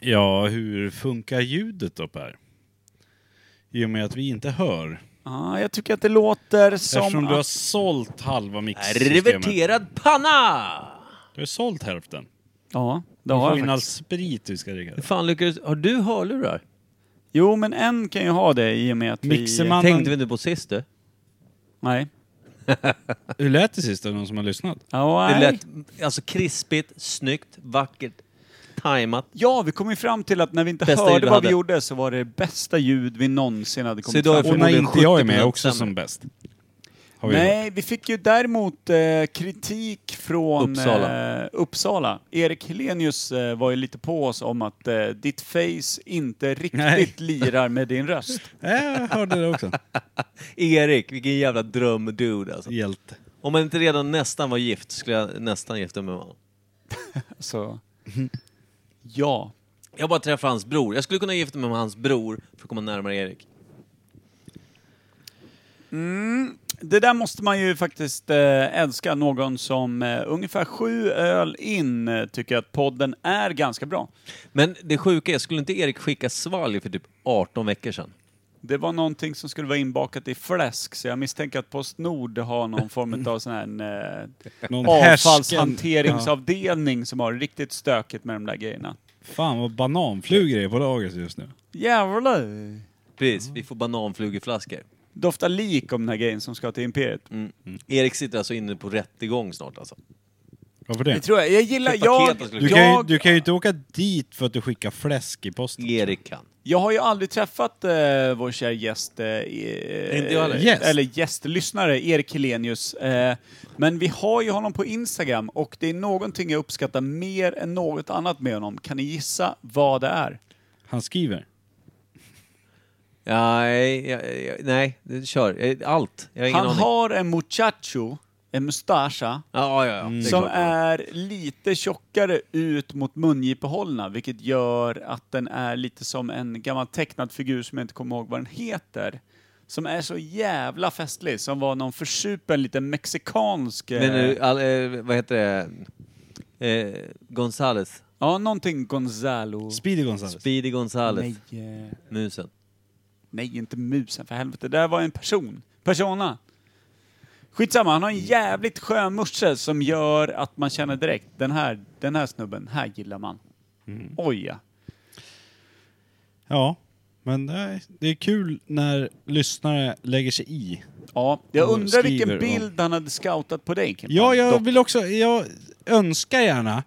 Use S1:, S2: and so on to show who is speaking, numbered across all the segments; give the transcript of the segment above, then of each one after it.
S1: Ja, hur funkar ljudet då Per? I och med att vi inte hör.
S2: Ah, jag tycker att det låter som
S1: Eftersom du har
S2: att...
S1: sålt halva mixsystemet.
S3: Reverterad panna!
S1: Du har sålt hälften.
S2: Ja, det
S1: Du
S2: har
S1: får
S2: jag
S1: in all
S2: faktiskt.
S1: sprit vi ska dricka.
S3: Hur fan lyckades... Har du hörlurar?
S2: Jo, men en kan ju ha det i och med att
S1: Mixer
S2: vi...
S1: man-
S3: Tänkte vi inte på sist du?
S2: Nej.
S1: Hur lät det sist? Är det någon som har lyssnat?
S2: Ja,
S3: Det
S2: nej.
S3: lät alltså krispigt, snyggt, vackert, tajmat.
S2: ja, vi kom ju fram till att när vi inte
S3: Bästa ljud
S2: hörde
S3: du
S2: vad vi
S3: hade.
S2: gjorde så var det bästa ljud vi någonsin hade kommit
S3: idag är
S2: fram
S1: Och när
S3: förmodligen
S1: inte jag är med
S3: 70%
S1: också
S3: sämre.
S1: som bäst. Har vi hört.
S2: Nej, vi fick ju däremot eh, kritik från
S3: Uppsala.
S2: Eh, Uppsala. Erik Helenius eh, var ju lite på oss om att eh, ditt face inte riktigt
S1: Nej.
S2: lirar med din röst.
S1: Nej, Eh, jag hörde det också.
S3: Erik, vilken jävla drömdude alltså.
S1: Hjälte.
S3: Om man inte redan nästan var gift skulle jag nästan gifta mig med honom.
S2: Så. Ja.
S3: Jag bara träffar hans bror. Jag skulle kunna gifta mig med hans bror för att komma närmare Erik.
S2: Det där måste man ju faktiskt eh, älska. Någon som eh, ungefär sju öl in eh, tycker att podden är ganska bra.
S3: Men det sjuka är, skulle inte Erik skicka svalg för typ 18 veckor sedan?
S2: Det var någonting som skulle vara inbakat i fläsk, så jag misstänker att Postnord har någon
S3: Mm.
S2: form av sån här eh,
S1: Någon härsken.
S2: avfallshanteringsavdelning som har riktigt stökigt med de där grejerna.
S1: Fan vad bananflugor det är på lagret just nu.
S2: Jävlar!
S3: Precis, vi får bananflugeflaskor.
S2: Doftar lik om den här grejen som ska till Imperiet.
S3: Mm. Erik sitter alltså inne på rättegång snart alltså.
S1: Varför
S2: Det
S1: det?
S2: tror jag. Jag gillar...
S3: Köpa
S2: Jag,
S3: keto skulle
S1: Du kan, ju,
S2: jag,
S1: du kan ju inte åka dit för att du skickar fläsk i posten.
S3: Erik kan.
S2: jag har ju aldrig träffat eh, vår kära gäst, eh, eh,
S3: Inte jag heller.
S1: Gäst.
S2: eller gästlyssnare, Erik Helenius. Eh, men vi har ju honom på Instagram och det är någonting jag uppskattar mer än något annat med honom. Kan ni gissa vad det är?
S1: Han skriver.
S3: Ja, nej, jag- jag- nej, det- kör. Eh, Allt. Jag har ingen
S2: Han
S3: aning.
S2: har en muchacho, en mustascha,
S3: Ja, ja, ja. Mm, Det är
S2: Mm. som
S3: klart.
S2: är lite tjockare ut mot mungipehållorna, vilket gör att den är lite som en gammal tecknad figur som jag inte kommer ihåg vad den heter. Som är så jävla festlig, som var någon försupen liten mexikansk... eh,
S3: Men nu, all, eh, vad heter det? Eh, Gonzales.
S2: Ja, någonting Gonzalo.
S1: Speedy Gonzales.
S3: Speedy Gonzales.
S2: Nej, eh,
S3: Musen.
S2: nej, inte musen för helvete. Det där var en person. Persona. Skitsamma, han har en jävligt skön morse som gör att man känner direkt, den här, den här snubben, här gillar man.
S3: Mm.
S2: Oj ja.
S1: Ja, men det är, det är kul när lyssnare lägger sig i.
S2: Ja, jag
S1: Och
S2: undrar
S1: skriver
S2: vilken
S1: om-
S2: bild han hade scoutat på dig Kimpan.
S1: Ja, jag
S2: Dock.
S1: vill också, jag önskar gärna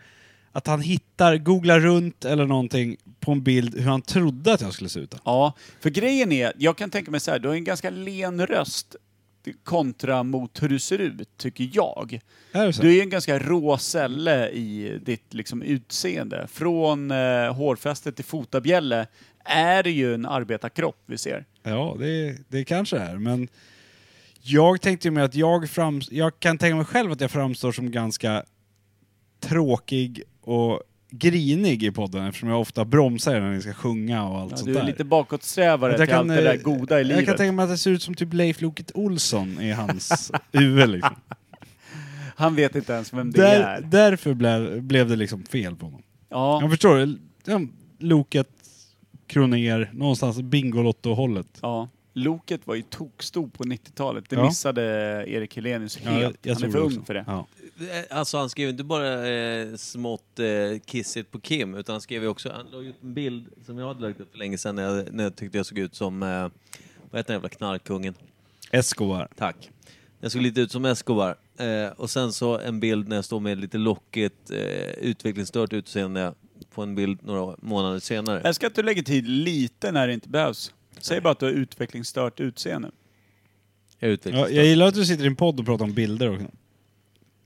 S1: att han hittar, googlar runt eller någonting på en bild hur han trodde att jag skulle se ut.
S2: Ja, för grejen är, jag kan tänka mig så här, du har en ganska len röst kontra mot hur du ser ut, tycker jag.
S1: Är det så?
S2: Du är ju en ganska rå celle i ditt liksom, utseende. Från eh, hårfästet till fotabjälle är det ju en arbetarkropp vi ser.
S1: Ja, det, det kanske är, men jag tänkte ju mer att jag fram, jag kan tänka mig själv att jag framstår som ganska tråkig och grinig i podden eftersom jag ofta bromsar er när ni ska sjunga och allt
S2: Ja,
S1: sånt
S2: du
S1: där.
S2: är lite bakåtsträvare
S1: Att
S2: till
S1: jag
S2: allt det där
S1: eh,
S2: goda i
S1: Jag kan
S2: livet.
S1: tänka mig att det ser ut som typ Leif Loket Olsson i hans huvud liksom.
S2: Han vet inte ens vem det
S1: Där,
S2: är.
S1: därför blev, blev det liksom fel på honom.
S2: Ja,
S1: Jag förstår det. Ja, Loket, Kroner, någonstans Bingolotto-hållet.
S2: ja. Loket var ju tokstor på 90-talet. Det
S1: Ja,
S2: missade Erik Helenius
S1: Ja,
S2: helt.
S1: jag
S2: Han
S1: tror
S2: är för
S1: det
S2: ung
S1: också.
S2: för det.
S1: Ja.
S3: Eh, Alltså han skrev inte bara eh, smått eh, kissigt på Kim, utan han skrev ju också, han la ut en bild som jag hade lagt upp för länge sedan när jag, när jag tyckte jag såg ut som, eh, vad heter den jävla knarkkungen?
S1: Escobar.
S3: Tack. Jag såg lite ut som Escobar. Eh, och sen så en bild när jag står med lite lockigt, eh, utvecklingsstört utseende på en bild några månader senare.
S2: Jag ska att du lägger tid lite när det inte behövs. Säg bara att du har utvecklingsstört utseende.
S3: Jag är
S1: Ja,
S3: utvecklingsstörd.
S1: jag gillar att du sitter i en podd och pratar om bilder också.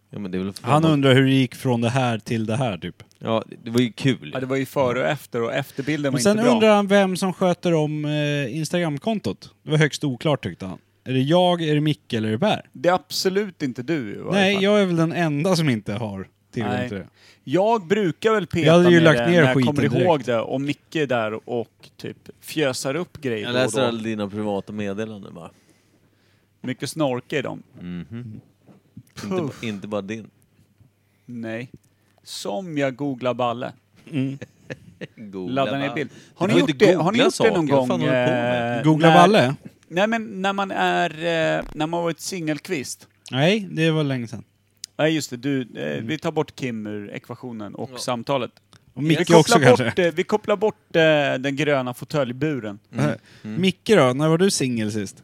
S3: Ja, men det är väl för
S1: Han
S3: fan-
S1: undrar hur det gick från det här till det här typ.
S3: Ja, det var ju kul.
S2: Ja, det var ju före och efter och efterbilden var
S1: Men sen
S2: inte bra.
S1: undrar han vem som sköter om eh, Instagramkontot. Det var högst oklart tyckte han. Är det jag, är det Micke eller är det Per?
S2: Det är absolut inte du i varje
S1: Nej,
S2: fall.
S1: jag är väl den enda som inte har tillgång
S2: Nej.
S1: till det.
S2: Jag brukar väl peta
S1: Jag hade ju
S2: med
S1: lagt
S2: det
S1: ner
S2: när jag
S1: skiten
S2: kommer ihåg
S1: direkt.
S2: det och Micke är där och typ fjösar upp grejer
S3: Jag
S2: då och
S3: läser
S2: då.
S3: alla dina privata meddelanden bara.
S2: Mycket snorke i dem.
S3: Inte, ba- inte bara din.
S2: Mm. Nej. Som jag googlar balle.
S3: Googla
S2: Ladda ner
S3: bara.
S2: bild.
S3: Du
S2: Har ni
S3: får inte
S2: gjort det, har ni
S3: googla
S2: gjort det någon
S3: saker, vad
S2: gång?
S3: fan håller du på med?
S2: eh,
S1: Googla
S2: när-
S1: Valle?
S2: Nej, men när man är... eh, När man har varit singelkvist.
S1: Nej, det var länge sedan.
S2: Nej, just det. Du, eh, Vi tar bort Kim ur ekvationen och
S3: Ja.
S2: samtalet.
S1: Mm. Och
S2: Vi
S1: Micke
S2: kopplar
S1: också
S2: bort,
S1: kanske.
S2: eh, Vi kopplar bort eh, den gröna fåtöljburen.
S1: Mm. Micke då, när var du singel sist?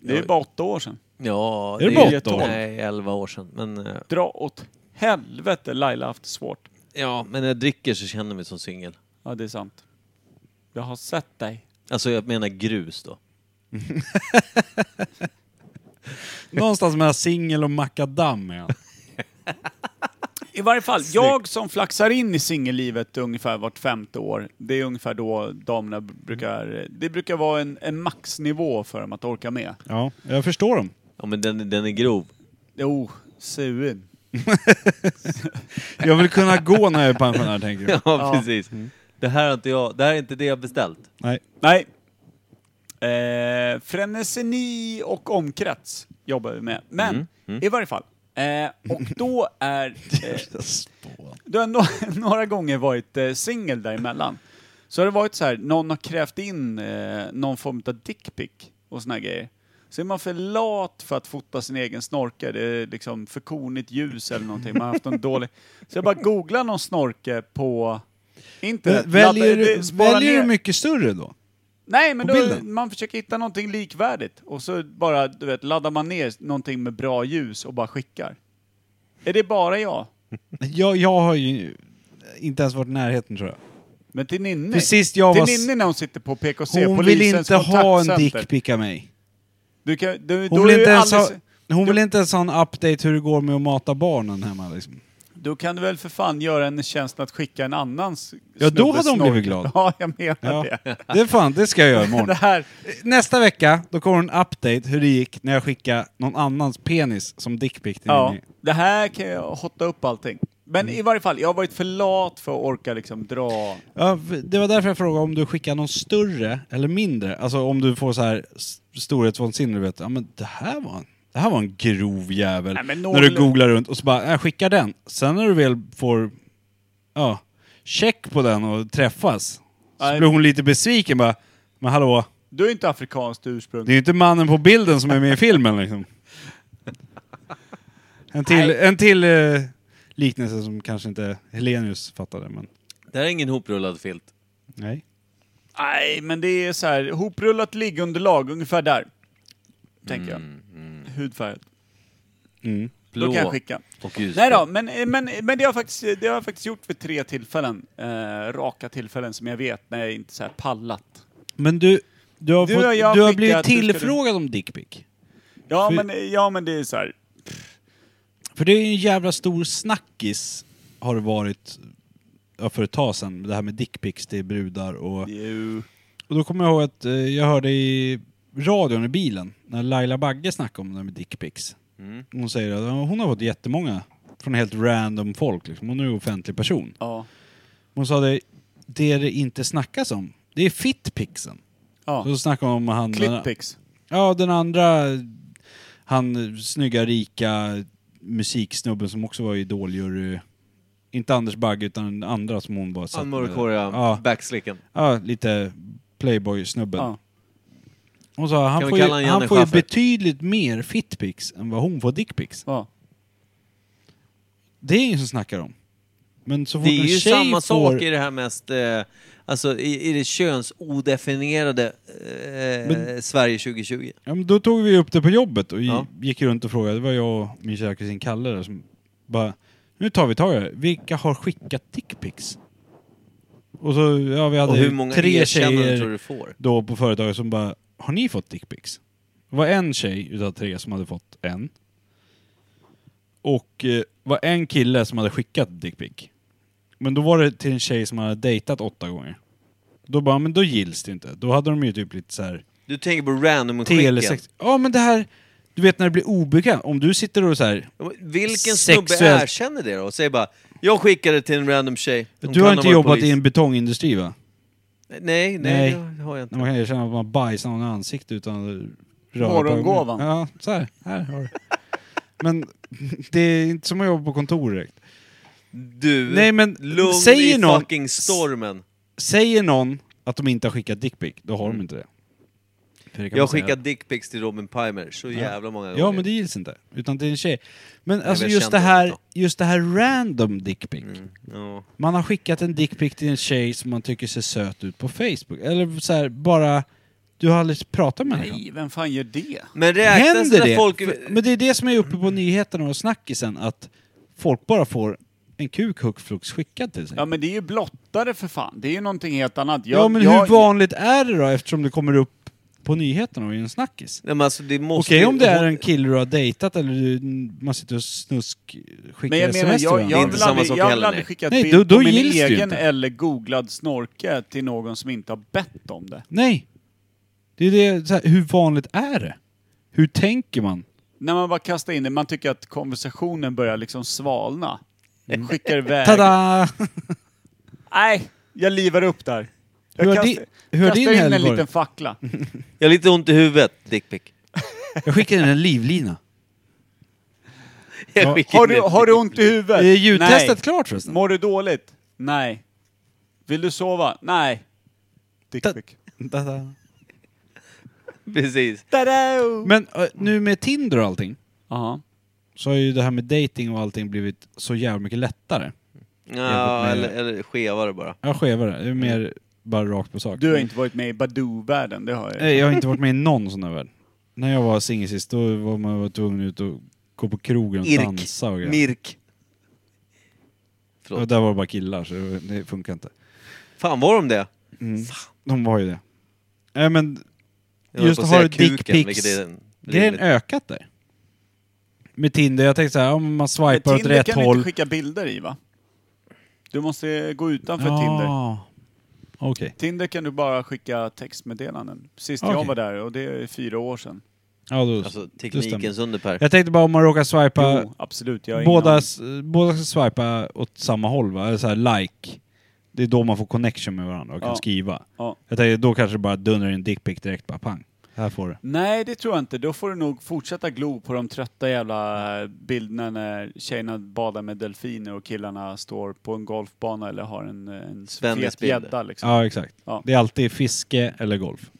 S2: Det är ju bara åtta år sedan.
S3: Ja,
S1: Är det
S3: är-
S1: bara åtta år?
S3: Nej, elva år sedan. Men, eh,
S2: Dra åt helvete Laila har haft det svårt.
S3: ja, men när jag dricker så känner jag mig som singel.
S2: Ja, det är sant. Jag har sett dig.
S3: Alltså jag menar grus då.
S1: Någonstans mellan singel och makadam är han.
S2: I varje fall, jag som flaxar in i singellivet ungefär vart femte år, det är ungefär då damerna b- brukar... Det brukar vara en, en maxnivå för dem att orka med.
S1: Ja, jag förstår dem.
S3: Ja, men den, den är grov.
S2: Jo, sugen.
S1: Jag vill kunna gå när jag är pensionär tänker
S3: Ja,
S1: du.
S3: precis.
S2: Mm.
S3: Det här, har inte jag, det här är inte det jag beställt.
S1: Nej.
S2: Nej. Eh, freneseni och omkrets jobbar vi med. Men i varje fall. Eh, och då är... Eh, du har nå- några gånger varit eh, singel däremellan. Så har det varit så här, någon har krävt in eh, någon form av dickpic och såna här grejer. Så är man för lat för att fota sin egen snorke. Det är liksom för konigt ljus eller någonting. Man har haft en dålig... Så jag bara googlar någon snorke på internet.
S1: Väljer,
S2: Laddar-
S1: du,
S2: det- sparar
S1: väljer du
S2: ner-
S1: mycket större då?
S2: Nej, men
S1: på
S2: då,
S1: bilden.
S2: man försöker hitta någonting likvärdigt och så bara, du vet, laddar man ner någonting med bra ljus och bara skickar. Är det bara jag?
S1: Jag, jag har ju inte ens varit i närheten tror jag.
S2: Men till Ninni.
S1: För sist jag
S2: till
S1: var s-
S2: Ninni när hon sitter på PKC,
S1: Hon vill
S2: polisens
S1: inte ha en
S2: kontaktcenter.
S1: dickpic av mig.
S2: Du kan, du,
S1: Hon,
S2: då
S1: vill
S2: är
S1: inte,
S2: ju
S1: ens ha,
S2: alldeles-
S1: hon
S2: Du-
S1: vill inte ens ha en update hur det går med att mata barnen hemma liksom.
S2: Då kan du väl för fan göra en tjänst att skicka en annans
S1: Ja, då
S2: snubbes
S1: hade hon
S2: snorkel.
S1: blivit glad.
S2: Ja, jag menar
S1: Ja.
S2: det.
S1: Det är fan, det ska jag göra
S2: Det
S1: imorgon.
S2: här,
S1: Nästa vecka, då kommer en update hur det gick när jag skickade någon annans penis som dickpic till
S2: ja,
S1: Ninni. Mm.
S2: det här kan jag hotta upp allting. Men i varje fall, jag har varit för lat för att orka liksom dra
S1: Ja, för- det var därför jag frågade om du skickar någon större eller mindre. Alltså om du får så här s- storhetsvansinne, du vet. Ja men det här var en, det här var en grov jävel.
S2: Nej, men
S1: När du
S2: noll-
S1: googlar runt och så bara, jag skickar den. Sen när du väl får, ja, check på den och träffas. Så
S2: Nej.
S1: blir hon lite besviken bara, men hallå,
S2: Du är inte afrikanskt ursprung.
S1: det är ju inte mannen på bilden som är med i filmen liksom. En till,
S2: Nej.
S1: en till eh, liknelse som kanske inte Helenius fattade, men
S3: Det här är ingen hoprullad filt.
S1: nej.
S2: Nej, men det är så här, hoprullat liggunderlag, ungefär där. Tänker jag. Hudfärgat.
S1: Mm.
S3: Blå
S2: Då kan jag skicka.
S3: och ljus.
S2: Nej då, men, men, men det, har jag faktiskt, det har jag faktiskt gjort vid tre tillfällen. Eh, raka tillfällen som jag vet när jag inte så här pallat.
S1: Men du, du har,
S2: Du,
S1: fått,
S2: jag har
S1: du har
S2: skickat-
S1: blivit
S2: du skulle-
S1: tillfrågad om dickpic.
S2: Ja,
S1: För-
S2: men, ja, men det är så här.
S1: För det är ju en jävla stor snackis, har det varit ja, för ett tag sedan, det här med dickpics till brudar och...
S2: Jo.
S1: Och då kommer jag ihåg att eh, jag hörde i radion i bilen, när Laila Bagge snackade om det här med dickpics.
S3: Mm.
S1: Hon säger att ja, hon har fått jättemånga från helt random folk, liksom. hon är ju offentlig person.
S2: Ja.
S1: Hon sa det, det det inte snackas om, det är fitpixen.
S2: ja.
S1: Så snackar hon om han...
S2: Clickpics.
S1: Ja, den andra, han snygga, rika musiksnubben som också var idoljury. Inte Anders Bagge, utan den andra som hon bara satt
S3: Han
S1: med.
S3: mörkhåriga
S1: Ja.
S3: backslicken.
S1: Ja, lite playboy-snubben.
S2: Ja.
S1: Hon sa han
S3: vi
S1: får, ju,
S3: kalla han Janne
S1: han får ju
S3: Schaffer?
S1: betydligt mer fitpics än vad hon får dickpics.
S2: ja.
S1: Det är ingen som snackar om. Men så fort
S3: Det är
S1: en
S3: ju
S1: tjej
S3: samma
S1: får...
S3: sak i det här mest, eh, alltså i, i det könsodefinierade eh,
S1: Men-
S3: Sverige 2020.
S1: Ja, men då tog vi upp det på jobbet och
S3: Ja.
S1: gick runt och frågade. Det var jag och min kära kusin Kalle där som bara, nu tar vi tag i det. Vilka har skickat dickpics? Och så, ja vi
S3: Och
S1: hade
S3: hur många
S1: tre
S3: erkännanden tror
S1: tjejer
S3: du får?
S1: då på företaget som bara, har ni fått dickpics? Det var en tjej utav tre som hade fått en. Och eh, var en kille som hade skickat dickpic. Men då var det till en tjej som hade dejtat åtta gånger. Då bara, men då gills det inte. Då hade de ju typ lite så här
S3: Du tänker på random skicken.
S1: Telesex. Ja men det här, du vet när det blir obekvämt. Om du sitter och så här,
S3: Vilken snubbe
S1: Sexuellt-
S3: erkänner det då? Och säger bara, jag skickade till en random tjej. Hon
S1: du
S3: kan
S1: har inte
S3: varit
S1: jobbat
S3: polis."
S1: i en betongindustri va?
S3: Nej, nej,
S1: Nej.
S3: det har jag inte.
S1: När man kan erkänna att man bajsar någon i ansiktet utan att röra på
S2: Morgongåvan.
S1: ögonen. Ja, så här. här har du. Men det är inte som att jobba på kontor direkt.
S3: Du,
S1: Nej, men
S3: lugn
S1: säger
S3: i
S1: någon-
S3: fucking stormen.
S1: Säger någon att de inte har skickat dickpic, då har de
S3: Mm.
S1: inte det. För det kan
S3: Jag har
S1: man säga.
S3: skickat dickpics till Robin Pimer så jävla många gånger.
S1: Ja, men det gills inte. Utan det är en tjej. Men
S3: Nej,
S1: alltså
S3: men jag
S1: just det,
S3: kände
S1: här,
S3: honom
S1: just det här random dickpic.
S3: Mm, ja.
S1: Man har skickat en dickpic till en tjej som man tycker ser söt ut på Facebook. Eller så här, bara... Du har aldrig pratat med henne.
S2: Nej, vem fan gör det?
S3: Men räknas
S1: Händer
S3: det
S1: det?
S3: när folk...
S1: För- Men det är det som är uppe på
S2: Mm.
S1: nyheterna och snackisen, att folk bara får en kuk hux flux skickad till sig.
S2: Ja, men det är ju blottare för fan. Det är ju någonting helt annat.
S1: ja, men hur vanligt är det då eftersom det kommer upp på nyheterna och är en snackis?
S3: Nej, men alltså, det måste
S1: Okej
S3: ju-
S1: om det är en kille du har dejtat eller du, man sitter och snusk skickar
S2: Men jag menar,
S1: sms till
S2: jag,
S1: varandra.
S2: jag
S3: är
S2: har
S3: inte
S2: väl
S3: samma
S2: aldrig,
S3: sak
S2: jag har
S3: heller,
S2: väl aldrig
S3: nej.
S2: skickat
S1: Nej,
S2: bild
S1: då- då
S2: på min
S1: gills det ju
S2: egen
S1: inte.
S2: eller googlad snorke till någon som inte har bett om det.
S1: Nej! Det är det, så här, hur vanligt är det? Hur tänker man?
S2: När man bara kastar in det, man tycker att konversationen börjar liksom svalna.
S1: Mm.
S2: Skickar iväg.
S1: Tada!
S2: Nej, jag livar upp där.
S1: Hur
S2: Jag
S1: har di-
S2: kastar,
S1: hur har
S2: kastar
S1: din
S2: in
S1: helg
S2: en
S1: varit?
S2: liten fackla.
S3: Jag har lite ont i huvudet, dickpic.
S1: Jag skickar in en livlina. Ja.
S3: Jag skickar
S2: Har du,
S3: in ett
S2: har du
S3: dick-
S2: ont i huvudet?
S1: Är ljudtestet
S2: Nej.
S1: klart förresten?
S2: Mår du dåligt? Nej. Vill du sova? Nej.
S1: Ta-
S2: Dickpic.
S1: Tada.
S3: Precis.
S1: Men eh, nu med Tinder och allting,
S2: Jaha.
S1: så har ju det här med dating och allting blivit så jävla mycket lättare.
S3: Ja,
S1: med-
S3: eller, eller skevare bara.
S1: Jag skevare, det är mer bara rakt på sak.
S2: Du har inte varit med i Badoo-världen, det har jag.
S1: Nej, jag har inte varit med i någon sån här värld. När jag var singel sist, då var man var tvungen ut och gå på krogen och
S3: Irk.
S1: dansa och grejer.
S3: Mirk.
S1: Och där var det bara killar, så det- det funkar inte. Mm.
S3: Fan, var de det?
S1: De var ju det. Nej men,
S3: Jag höll
S1: Just
S3: på att
S1: har
S3: säga
S1: du
S3: kuken,
S1: dickpics-
S3: vilket är en-
S1: grejen
S3: rimligt.
S1: ökat där. Med Tinder, jag tänkte såhär, om man
S2: Men
S1: swipar åt
S2: Tinder
S1: rätt
S2: kan du
S1: håll.
S2: inte skicka bilder i va? Du måste gå utanför Tinder.
S1: Ja. Okej.
S2: Tinder kan du bara skicka textmeddelanden. Sist jag
S1: Okej.
S2: var där, och det är fyra år sedan.
S1: Ja, då.
S3: Alltså,
S1: stämmer.
S3: teknikens under, Per.
S1: jag tänkte bara om man råkar swipa
S2: Jo, absolut. Jag har ingen
S1: Båda,
S2: aning.
S1: s- båda ska swipa åt samma håll va? Eller så här like. Det är då man får connection med varandra och kan
S2: Ja.
S1: skriva.
S2: Ja.
S1: Jag tänkte, då kanske det bara dundrar in dickpic direkt, bara pang. Här får du.
S2: Nej, det tror jag inte. Då får du nog fortsätta glo på de trötta jävla eh, bilderna när tjejerna badar med delfiner och killarna står på en golfbana eller har en, eh, en fet
S3: Spänningsbilder.
S2: gädda liksom. Ja,
S1: Ja, exakt.
S2: Ja.
S1: Det är alltid fiske eller golf.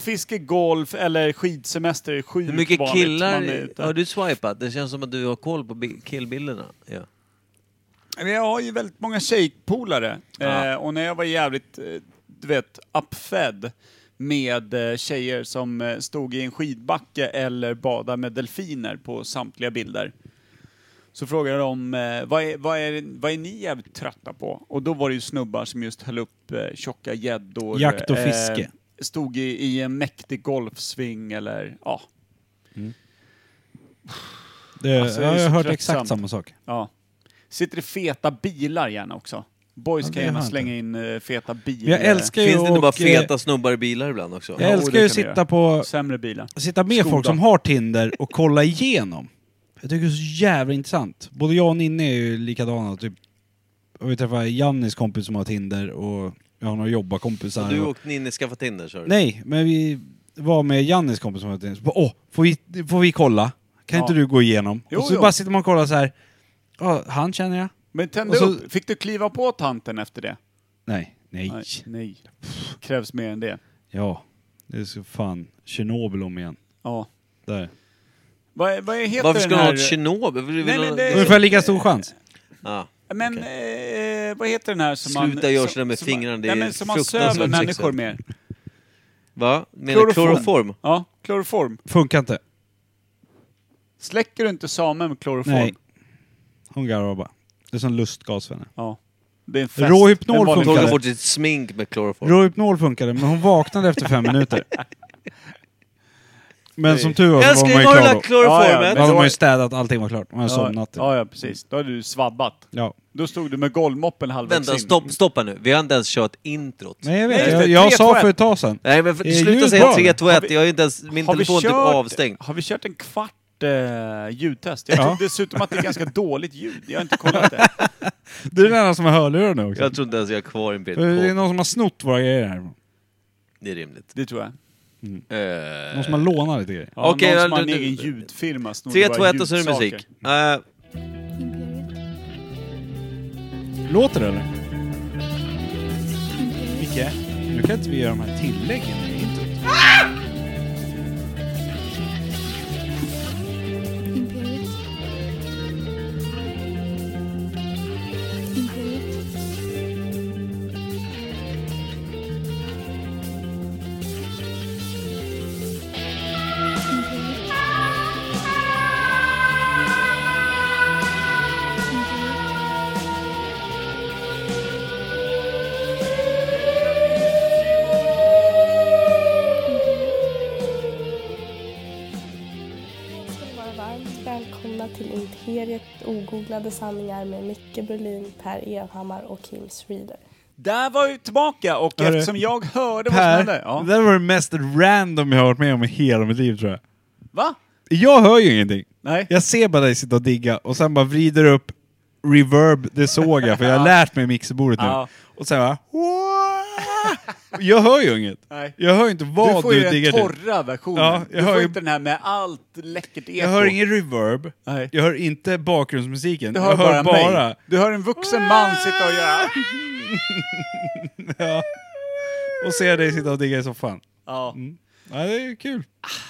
S2: fiske, golf eller skidsemester är sjukt
S3: Hur mycket
S2: vanligt. Man är
S3: killar
S2: ute.
S3: har du swipat? Det känns som att du har koll på bi- killbilderna. Ja.
S2: Men jag har ju väldigt många tjejpolare.
S3: Ja.
S2: Eh, och när jag var jävligt, eh, du vet, uppfed med eh, tjejer som eh, stod i en skidbacke eller badade med delfiner på samtliga bilder. Så frågade de, eh, vad är, vad, är, vad är ni jävligt trötta på? Och då var det ju snubbar som just höll upp eh, tjocka gäddor.
S1: Jakt och
S2: eh,
S1: fiske.
S2: stod i, i en mäktig golfsving eller, ja.
S1: Det,
S2: Alltså, det är
S1: ja, jag har
S2: så
S1: hört
S2: tröttsamt.
S1: exakt samma sak.
S2: Ja. Sitter i feta bilar gärna också. Boys
S1: Ja, det
S2: kan gärna
S1: har jag
S2: slänga in eh, feta bilar.
S1: Men jag älskar ju
S3: Finns det inte
S1: och,
S3: bara
S1: eh,
S3: feta snubbar i bilar ibland också?
S1: Jag
S2: Jo,
S1: älskar
S2: det
S1: ju
S2: kan
S1: att sitta,
S2: vi göra.
S1: på,
S2: Sämre bilar.
S1: sitta med
S2: Skoda.
S1: folk som har Tinder och kolla igenom. Jag tycker det är så jävla intressant. Både jag och Ninne är ju likadana. Typ. Och vi träffar Jannis kompis som har Tinder och jag har några jobbarkompisar.
S3: Och du
S1: och-
S3: och Ninni skaffade Tinder, sa du?
S1: Nej, men vi var med Jannis kompis som var ute. Så bara, Åh, får vi, får vi kolla? Kan
S2: Ja.
S1: inte du gå igenom?
S2: Jo,
S1: och så
S2: jo.
S1: bara sitter man och kollar så här. Ja, han känner jag.
S2: Men tände
S1: Och så-
S2: upp. Fick du kliva på tanten efter det?
S1: Nej, nej.
S2: Nej. Nej. Krävs mer än det.
S1: Ja, det är så fan Tjernobyl om igen.
S2: Ja.
S1: Där.
S2: Vad, är- vad är- heter
S3: Varför ska
S2: den
S3: du
S2: här...
S3: ha ett Tjernobyl? Vill du-
S2: Nej,
S3: vill
S2: men
S3: du-
S2: det-
S1: Ungefär lika stor chans.
S3: Ja.
S2: Men eh, vad heter den här som man...
S3: Sluta göra
S2: som-
S3: sådär med
S2: som-
S3: fingrarna, det
S2: nej,
S3: är
S2: men som man
S3: fruktansvärt
S2: söver människor
S3: sexuellt.
S2: med.
S3: Va? Menar du kloroform?
S2: Ja, kloroform.
S1: Funkar inte.
S2: Släcker du inte samen med kloroform?
S1: Nej. Hon garvar bara. Det är som lustgas för henne.
S2: Ja. Det är en fest.
S1: Råhypnol
S2: En vanlig
S1: funkar.
S3: Torka
S1: Funkar.
S3: bort sitt smink med kloroform.
S1: Rohypnol funkade, men hon vaknade efter fem minuter. Men som tur var så var man
S3: Älskling,
S1: ju
S3: har du
S1: klar då.
S3: lagt kloroformen?
S2: Ja, ja, men-
S1: Då hade man ju städat, allting var klart. Man hade
S2: Ja,
S1: somnat. typ.
S2: ja, ja, precis. Då hade du svabbat.
S1: Ja.
S2: Då stod du med golvmoppen halvvägs
S3: Vänta,
S2: in.
S3: stopp, stoppa nu. Vi har inte ens kört introt.
S1: Nej, jag vet.
S2: Nej,
S1: jag
S2: tre,
S1: jag
S2: två,
S1: sa
S2: ett.
S1: för ett tag sedan.
S3: Nej, men för,
S1: Är
S3: sluta
S1: ljudet
S3: säga
S1: bra,
S3: 3,
S1: eller?
S3: 2, 1.
S2: Har vi-
S3: Jag är inte ens, min
S2: Har vi
S3: telefon typ
S2: kört-
S3: avstängd.
S2: Har vi kört en kvart eh, ljudtest? Jag
S1: Ja.
S2: tror dessutom att det är ganska dåligt ljud. Jag har inte kollat det.
S1: Du är den enda som har hörlurar nu också.
S3: Jag tror inte ens jag har kvar en bild
S1: För Det är
S3: på.
S1: någon som har snott våra grejer här.
S3: Det är rimligt.
S2: Det tror jag.
S1: Någon
S3: Eh,
S1: som har lånat lite grejer.
S2: Ja,
S3: Okej,
S2: någon
S3: ja,
S2: som har en
S3: du-
S2: egen
S3: du-
S2: ljudfirma. snodde våra
S3: 3, 2, 1 och så är det
S2: ljudsaker.
S3: musik. Eh,
S4: Imperiet.
S1: Låter det eller?
S4: Imperiet.
S1: Micke, nu kan inte vi göra de här tilläggen i introt.
S4: Imperiet. Imperiet. Imperiet. Imperiet.
S5: ska ni vara varmt välkomna till Imperiet ogooglade sanningar med Micke Berlin, Per Evhammar och Kim Reader.
S2: Där var vi tillbaka och
S1: Hörru.
S2: eftersom jag hörde vad som hände...
S1: Per,
S2: Ja.
S1: det där var det mest random jag har varit med om i hela mitt liv tror jag.
S2: Va?
S1: Jag hör ju ingenting.
S2: Nej.
S1: Jag ser bara dig sitta och digga och sen bara vrider du upp reverb, det såg jag för jag har lärt mig mixerbordet nu.
S2: Ja.
S1: Och sen bara... Jag hör ju inget.
S2: Nej.
S1: Jag hör ju inte vad
S2: Du
S1: du,
S2: får ju den
S1: diggar till.
S2: torra versionen.
S1: Ja, jag
S2: du
S1: hör
S2: får
S1: ju-
S2: inte den här med allt läckert eko.
S1: Jag hör ingen reverb,
S2: Nej.
S1: jag hör inte bakgrundsmusiken,
S2: Du
S1: jag hör bara... Mm.
S2: mig. Du hör en vuxen man sitta och göra...
S1: och ser dig sitta och digga i soffan.
S2: Ja,
S1: Ja, det är kul.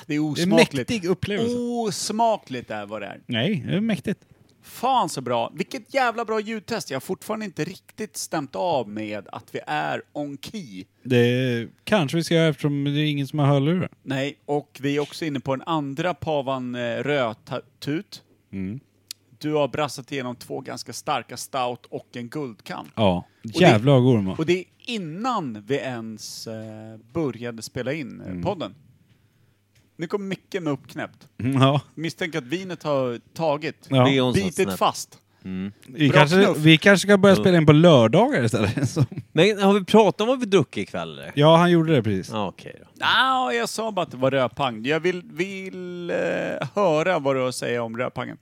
S2: det är
S1: Mm. Det är en
S2: osmakligt.
S1: mäktig upplevelse.
S2: Osmakligt är vad det är.
S1: Nej, det är mäktigt.
S2: Fan så bra. Vilket jävla bra ljudtest. Jag har fortfarande inte riktigt stämt av med att vi är on key.
S1: Det kanske vi ska göra eftersom det är ingen som har hörlurar.
S2: Nej, och vi är också inne på den andra pavan eh, rödtut.
S1: Mm.
S2: Du har brassat igenom två ganska starka stout och en guldkant.
S1: Ja.
S2: det-
S1: Jävla gormar.
S2: Och det är innan vi ens eh, började spela in eh,
S1: Mm.
S2: podden. Nu kom mycket med uppknäppt.
S1: Ja.
S2: Misstänker att vinet har tagit,
S1: Ja.
S3: Det är onsdags
S2: bitit
S3: snabbt.
S2: fast.
S1: Vi,
S2: Bra
S1: kanske,
S2: knuff.
S1: vi kanske ska börja spela in på lördagar istället. Så.
S3: Men har vi pratat om vad vi druckit ikväll eller?
S1: Ja, han gjorde det precis.
S3: Ja, Okej då.
S2: Ah, jag sa bara att det var rödpang. Jag vill, vill eh, höra vad du har att säga om rödpangen.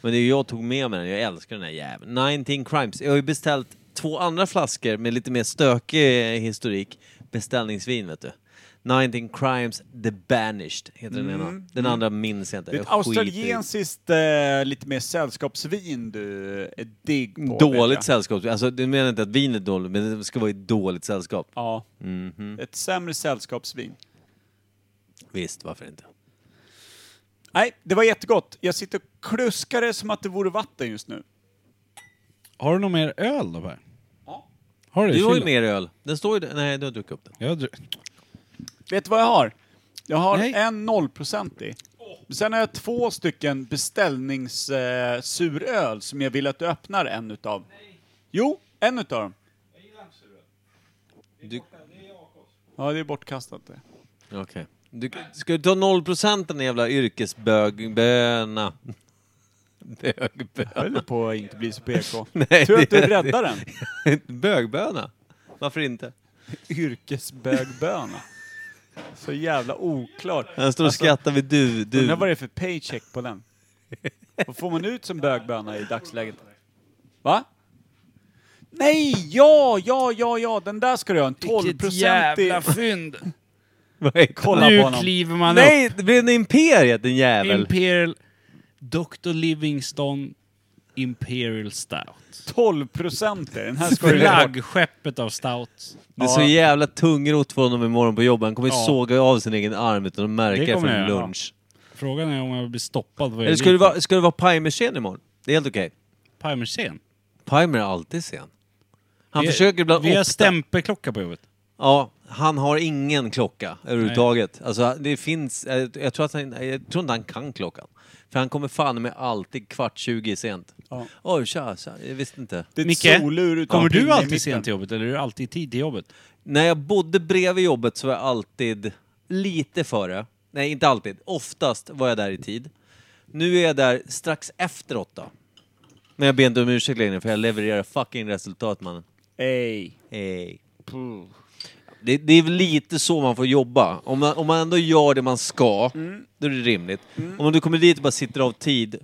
S3: Men det är ju jag tog med mig den, jag älskar den här jäveln. 19 Crimes. Jag har ju beställt två andra flaskor med lite mer stökig eh, historik. Beställningsvin vet du. 19 Crimes The Banished heter den ena.
S2: Mm,
S3: Den andra minns jag inte.
S2: Det är ett
S3: Jag skiter i-
S2: australiensiskt eh, lite mer sällskapsvin du är digg på. vet
S3: Dåligt
S2: jag.
S3: sällskap. Alltså, du menar inte att vin är dåligt, men det ska vara i dåligt sällskap.
S2: Ja.
S3: Mhm.
S2: Ett sämre sällskapsvin.
S3: Visst, varför inte?
S2: Nej, det var jättegott. Jag sitter och kluskar det som att det vore vatten just nu.
S1: Har du någon mer öl då Per?
S2: Ja.
S1: Har du det i
S3: Du har ju
S1: kylen?
S3: mer öl. Den står ju där. Nej, du har druckit upp den.
S1: Jag dr-
S2: Vet du vad jag har? Jag har
S1: Nej.
S2: en nollprocentig. Sen har jag två stycken beställningssuröl eh, suröl som jag vill att du öppnar en utav. Jo, en utav dem.
S3: Du...
S2: Ja, det är bortkastat det.
S3: Okej. Du... Ska du ta 0% den jävla yrkesbögböna?
S2: Jag
S3: Bögböna?
S2: höll på att inte bli så PK.
S3: Nej,
S2: Tur att du
S3: det-
S2: räddade den.
S3: Bögböna? Varför inte?
S2: Yrkesbögböna. Så jävla oklart.
S3: Han står och skrattar vid du, du.
S2: Undrar vad det är för paycheck på den. Vad får man ut som bögböna i dagsläget? Va? Nej, ja, ja, ja, ja, den där ska du ha. En 12-procentig...
S1: fynd!
S3: Vad heter
S2: Kolla
S3: han?
S2: på
S1: Nu
S2: honom.
S1: kliver man
S3: Nej, det blir en imperiet din
S1: upp.
S3: jävel.
S1: Imperial... Dr. Livingston Imperial Stout.
S2: 12-procentig. Den här ska du ha.
S1: Flaggskeppet av stout.
S3: det är så jävla tungrot för honom imorgon på jobbet. Han kommer ju
S1: Ja.
S3: såga av sin egen arm utan att
S1: Det
S3: märka
S1: kommer jag
S3: från
S1: göra.
S3: lunch.
S1: Frågan är om jag blir stoppad vad jag
S3: Eller ska du vara, ska du vara Pimer-sen imorgon? Det är helt okej.
S1: Palmersen?
S3: Pimer är alltid sen. Han försöker ibland
S1: Vi har
S3: ofta-
S1: stämpelklocka på jobbet.
S3: Ja, han har ingen klocka överhuvudtaget. Alltså, det finns... eh, Jag tror, att han, jag tror inte han kan klockan. För han kommer fan med alltid kvart 20 sent.
S2: Ja.
S3: Oj, tja, tja, jag visste inte.
S2: Det är ett
S1: Micke,
S2: solur utan
S1: kommer
S2: pinne
S1: du
S2: i
S1: alltid
S2: mitten.
S1: sent till jobbet eller är du alltid i tid till jobbet?
S3: När jag bodde bredvid jobbet så var jag alltid lite före. Nej, inte alltid. Oftast var jag där i tid. Nu är jag där strax efter åtta. Men jag ber inte om ursäkt längre för jag levererar fucking resultat mannen.
S2: Ej.
S3: Hey. Eh,
S2: Mm.
S3: Det, det är väl lite så man får jobba. Om man, om man ändå gör det man ska, då är det rimligt.
S2: Mm.
S3: Om du kommer dit och bara sitter av tid.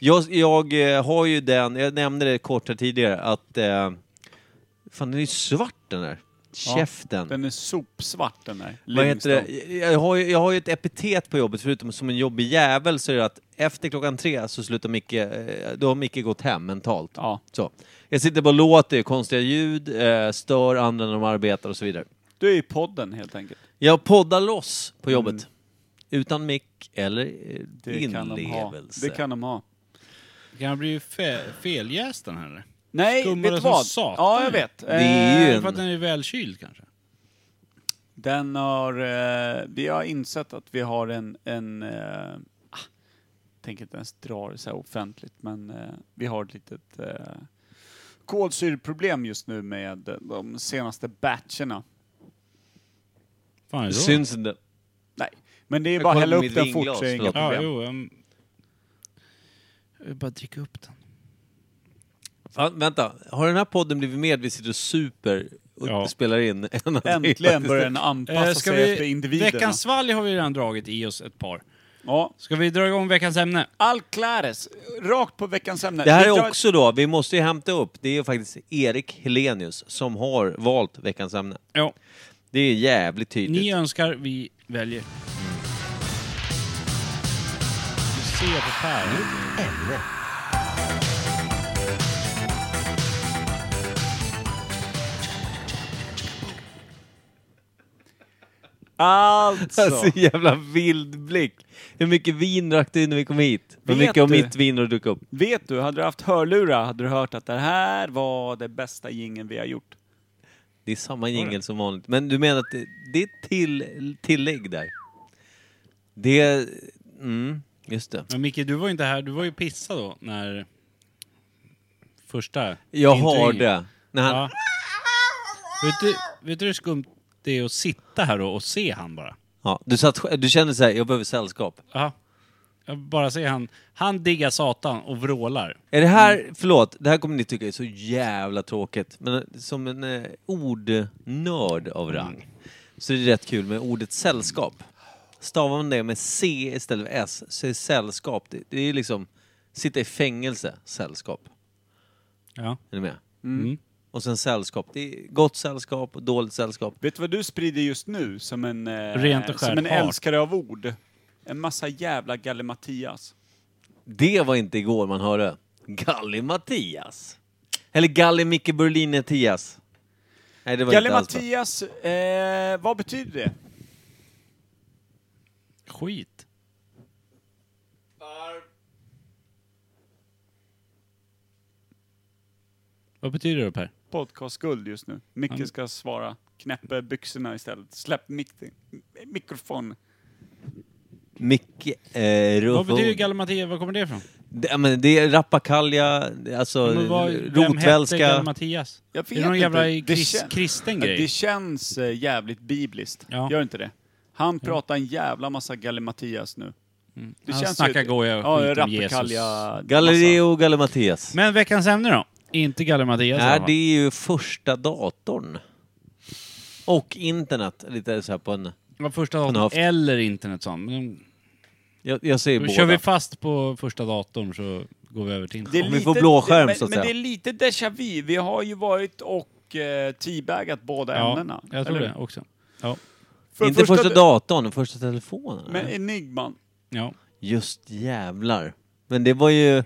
S3: Jag, jag eh, har ju den, jag nämnde det kort här tidigare, att... Eh, fan, den är ju svart den där. Käften.
S2: Den är sopsvart den där.
S3: Vad heter
S2: Livingstone.
S3: det? Jag jag har, ju, jag har ju ett epitet på jobbet, förutom som en jobbig jävel, så är det att efter klockan tre så slutar Micke, eh, då har Micke gått hem mentalt.
S2: Ja.
S3: Så. Jag sitter bara och låter konstiga ljud, eh, stör andra när de arbetar och så vidare.
S2: Du är i podden helt enkelt.
S3: Jag poddar loss på jobbet. Utan mick eller eh,
S2: Mm. Det kan de ha.
S3: inlevelse.
S2: Det kan de ha.
S1: Kan han bli fe- feljäst den här?
S2: Nej,
S1: Skummare
S2: vet du
S1: som
S2: vad?
S1: satan.
S2: Ja, jag vet.
S3: Det är ju
S2: Eh,
S1: För att den är välkyld kanske?
S2: Den har... Eh, vi har insett att vi har en... en eh, ah, tänker inte ens dra det så här offentligt, men eh, vi har ett litet eh, kolsyreproblem just nu med eh, de senaste batcherna.
S1: Fan är
S3: Det
S1: det då?
S3: syns inte.
S2: Nej, men det är
S3: Jag
S2: bara att
S3: kollar
S2: hälla
S3: på
S2: upp
S3: mitt
S2: den fort
S3: vinglas,
S2: så är det inga
S3: förlåt.
S1: Ja,
S2: problem.
S1: jo. Um... Jag vill bara dricka upp den.
S3: Fan, vänta, har den här podden blivit mer att vi sitter och super och
S1: Ja.
S3: spelar in? än att vi
S2: Äntligen
S3: faktiskt-
S2: börjar den anpassa
S1: Eh, ska
S2: sig efter
S1: vi...
S2: individerna.
S1: Veckans svalg har vi redan dragit i oss ett par.
S2: Ja.
S1: Ska vi dra igång veckans ämne?
S2: Al Clares, rakt på veckans ämne.
S3: Det här
S2: Vi drar-
S3: är också då, vi måste ju hämta upp, det är ju faktiskt Erik Helenius som har valt veckans ämne.
S1: Ja.
S3: Det är jävligt
S1: Ni
S3: tydligt.
S1: önskar, vi väljer. Du ser på Per.
S2: Alltså.
S3: Alltså jävla vild blick. Hur mycket vin drack du när vi kom hit? Hur
S2: Vet
S3: mycket av
S2: du?
S3: mitt vin har du druckit upp?
S2: Vet du, hade du haft hörlurar hade du hört att det här var det bästa jingeln vi har gjort.
S3: Det är samma jingel som vanligt. Men du menar att det, det är till, tillägg där? Det... Mm, just det.
S1: Men Micke, du var ju inte här. Du var ju pissad då när... Första
S3: Jag har
S1: intrycket.
S3: det. När han,
S1: Ja. Vet, du, vet du hur skumt det är att sitta här och, och se han bara?
S3: ja, du, satt, sj- du kände så här, jag behöver sällskap.
S1: Ja. Jag bara ser han. Han diggar Satan och vrålar.
S3: Är det här, förlåt, det här kommer ni tycka är så jävla tråkigt, men som en eh, ordnörd av rang så är det rätt kul med ordet sällskap. Stavar man det med C istället för S så är sällskap, det, det är liksom sitta i fängelse, sällskap.
S1: Ja.
S3: Är ni med?
S1: Mm.
S3: Och sen sällskap, det är gott sällskap och dåligt sällskap.
S2: Vet du vad du sprider just nu som en, eh,
S1: Rent och
S2: som
S1: skärt
S2: en
S1: hat.
S2: älskare av ord? En massa jävla gallimatias.
S3: Det var inte igår man hörde. Galli-Mattias. Eller Galli-Micke Berlin-Mattias. Nej, det var inte alls bra.
S2: Gallimatias, eh, vad betyder det?
S1: Skit. Vad betyder det Per?
S2: Podcastguld just nu. Micke
S1: Mm.
S2: ska svara. Knäppe byxorna istället. Släpp mik- mikrofon.
S3: Micke eh,
S1: Vad
S3: Ruffo.
S1: betyder Gallimatia? Var kommer det ifrån?
S3: Det, ja, men det är rappakalja, det- alltså
S1: Men vad- Vem hette
S3: rotvälska.
S1: Gallimatias?
S2: Jag
S1: Är
S2: vet
S1: det någon
S2: inte.
S1: jävla
S2: Det
S1: kris,
S2: kän-
S1: kristen
S2: Ja,
S1: grej?
S2: Det känns eh, jävligt bibliskt.
S1: Ja.
S2: Gör inte det? Han pratar en jävla massa gallimatias nu. Det
S1: Mm. Han
S2: känns ju-
S1: snackar goja och skit
S2: ja,
S1: om Jesus.
S2: rappakalja- massa-
S3: Galileo Gallimatias.
S1: Men veckans ämne då? Inte Gallimatias i alla
S3: Nej,
S1: fall.
S3: det är ju första datorn. Och internet, lite så här på en...
S1: Det var första
S3: Han har
S1: datorn
S3: haft-
S1: eller internet sa han. Men
S3: Jag, jag säger
S1: Då
S3: båda.
S1: kör vi fast på första datorn så går vi över till
S2: Det
S1: internet.
S2: är
S3: Om vi
S2: lite-
S3: får blåskärm,
S2: men,
S3: så att
S2: Men det
S3: säga.
S2: är lite déjà vu. Vi har ju varit och eh, teabagat båda ämnena.
S1: Ja, jag tror
S2: eller
S1: det också. Ja.
S2: hur? För
S3: Inte första, datorn, den första telefonen.
S2: Men
S3: eller?
S2: enigman.
S1: ja.
S3: Just jävlar. Men det var ju...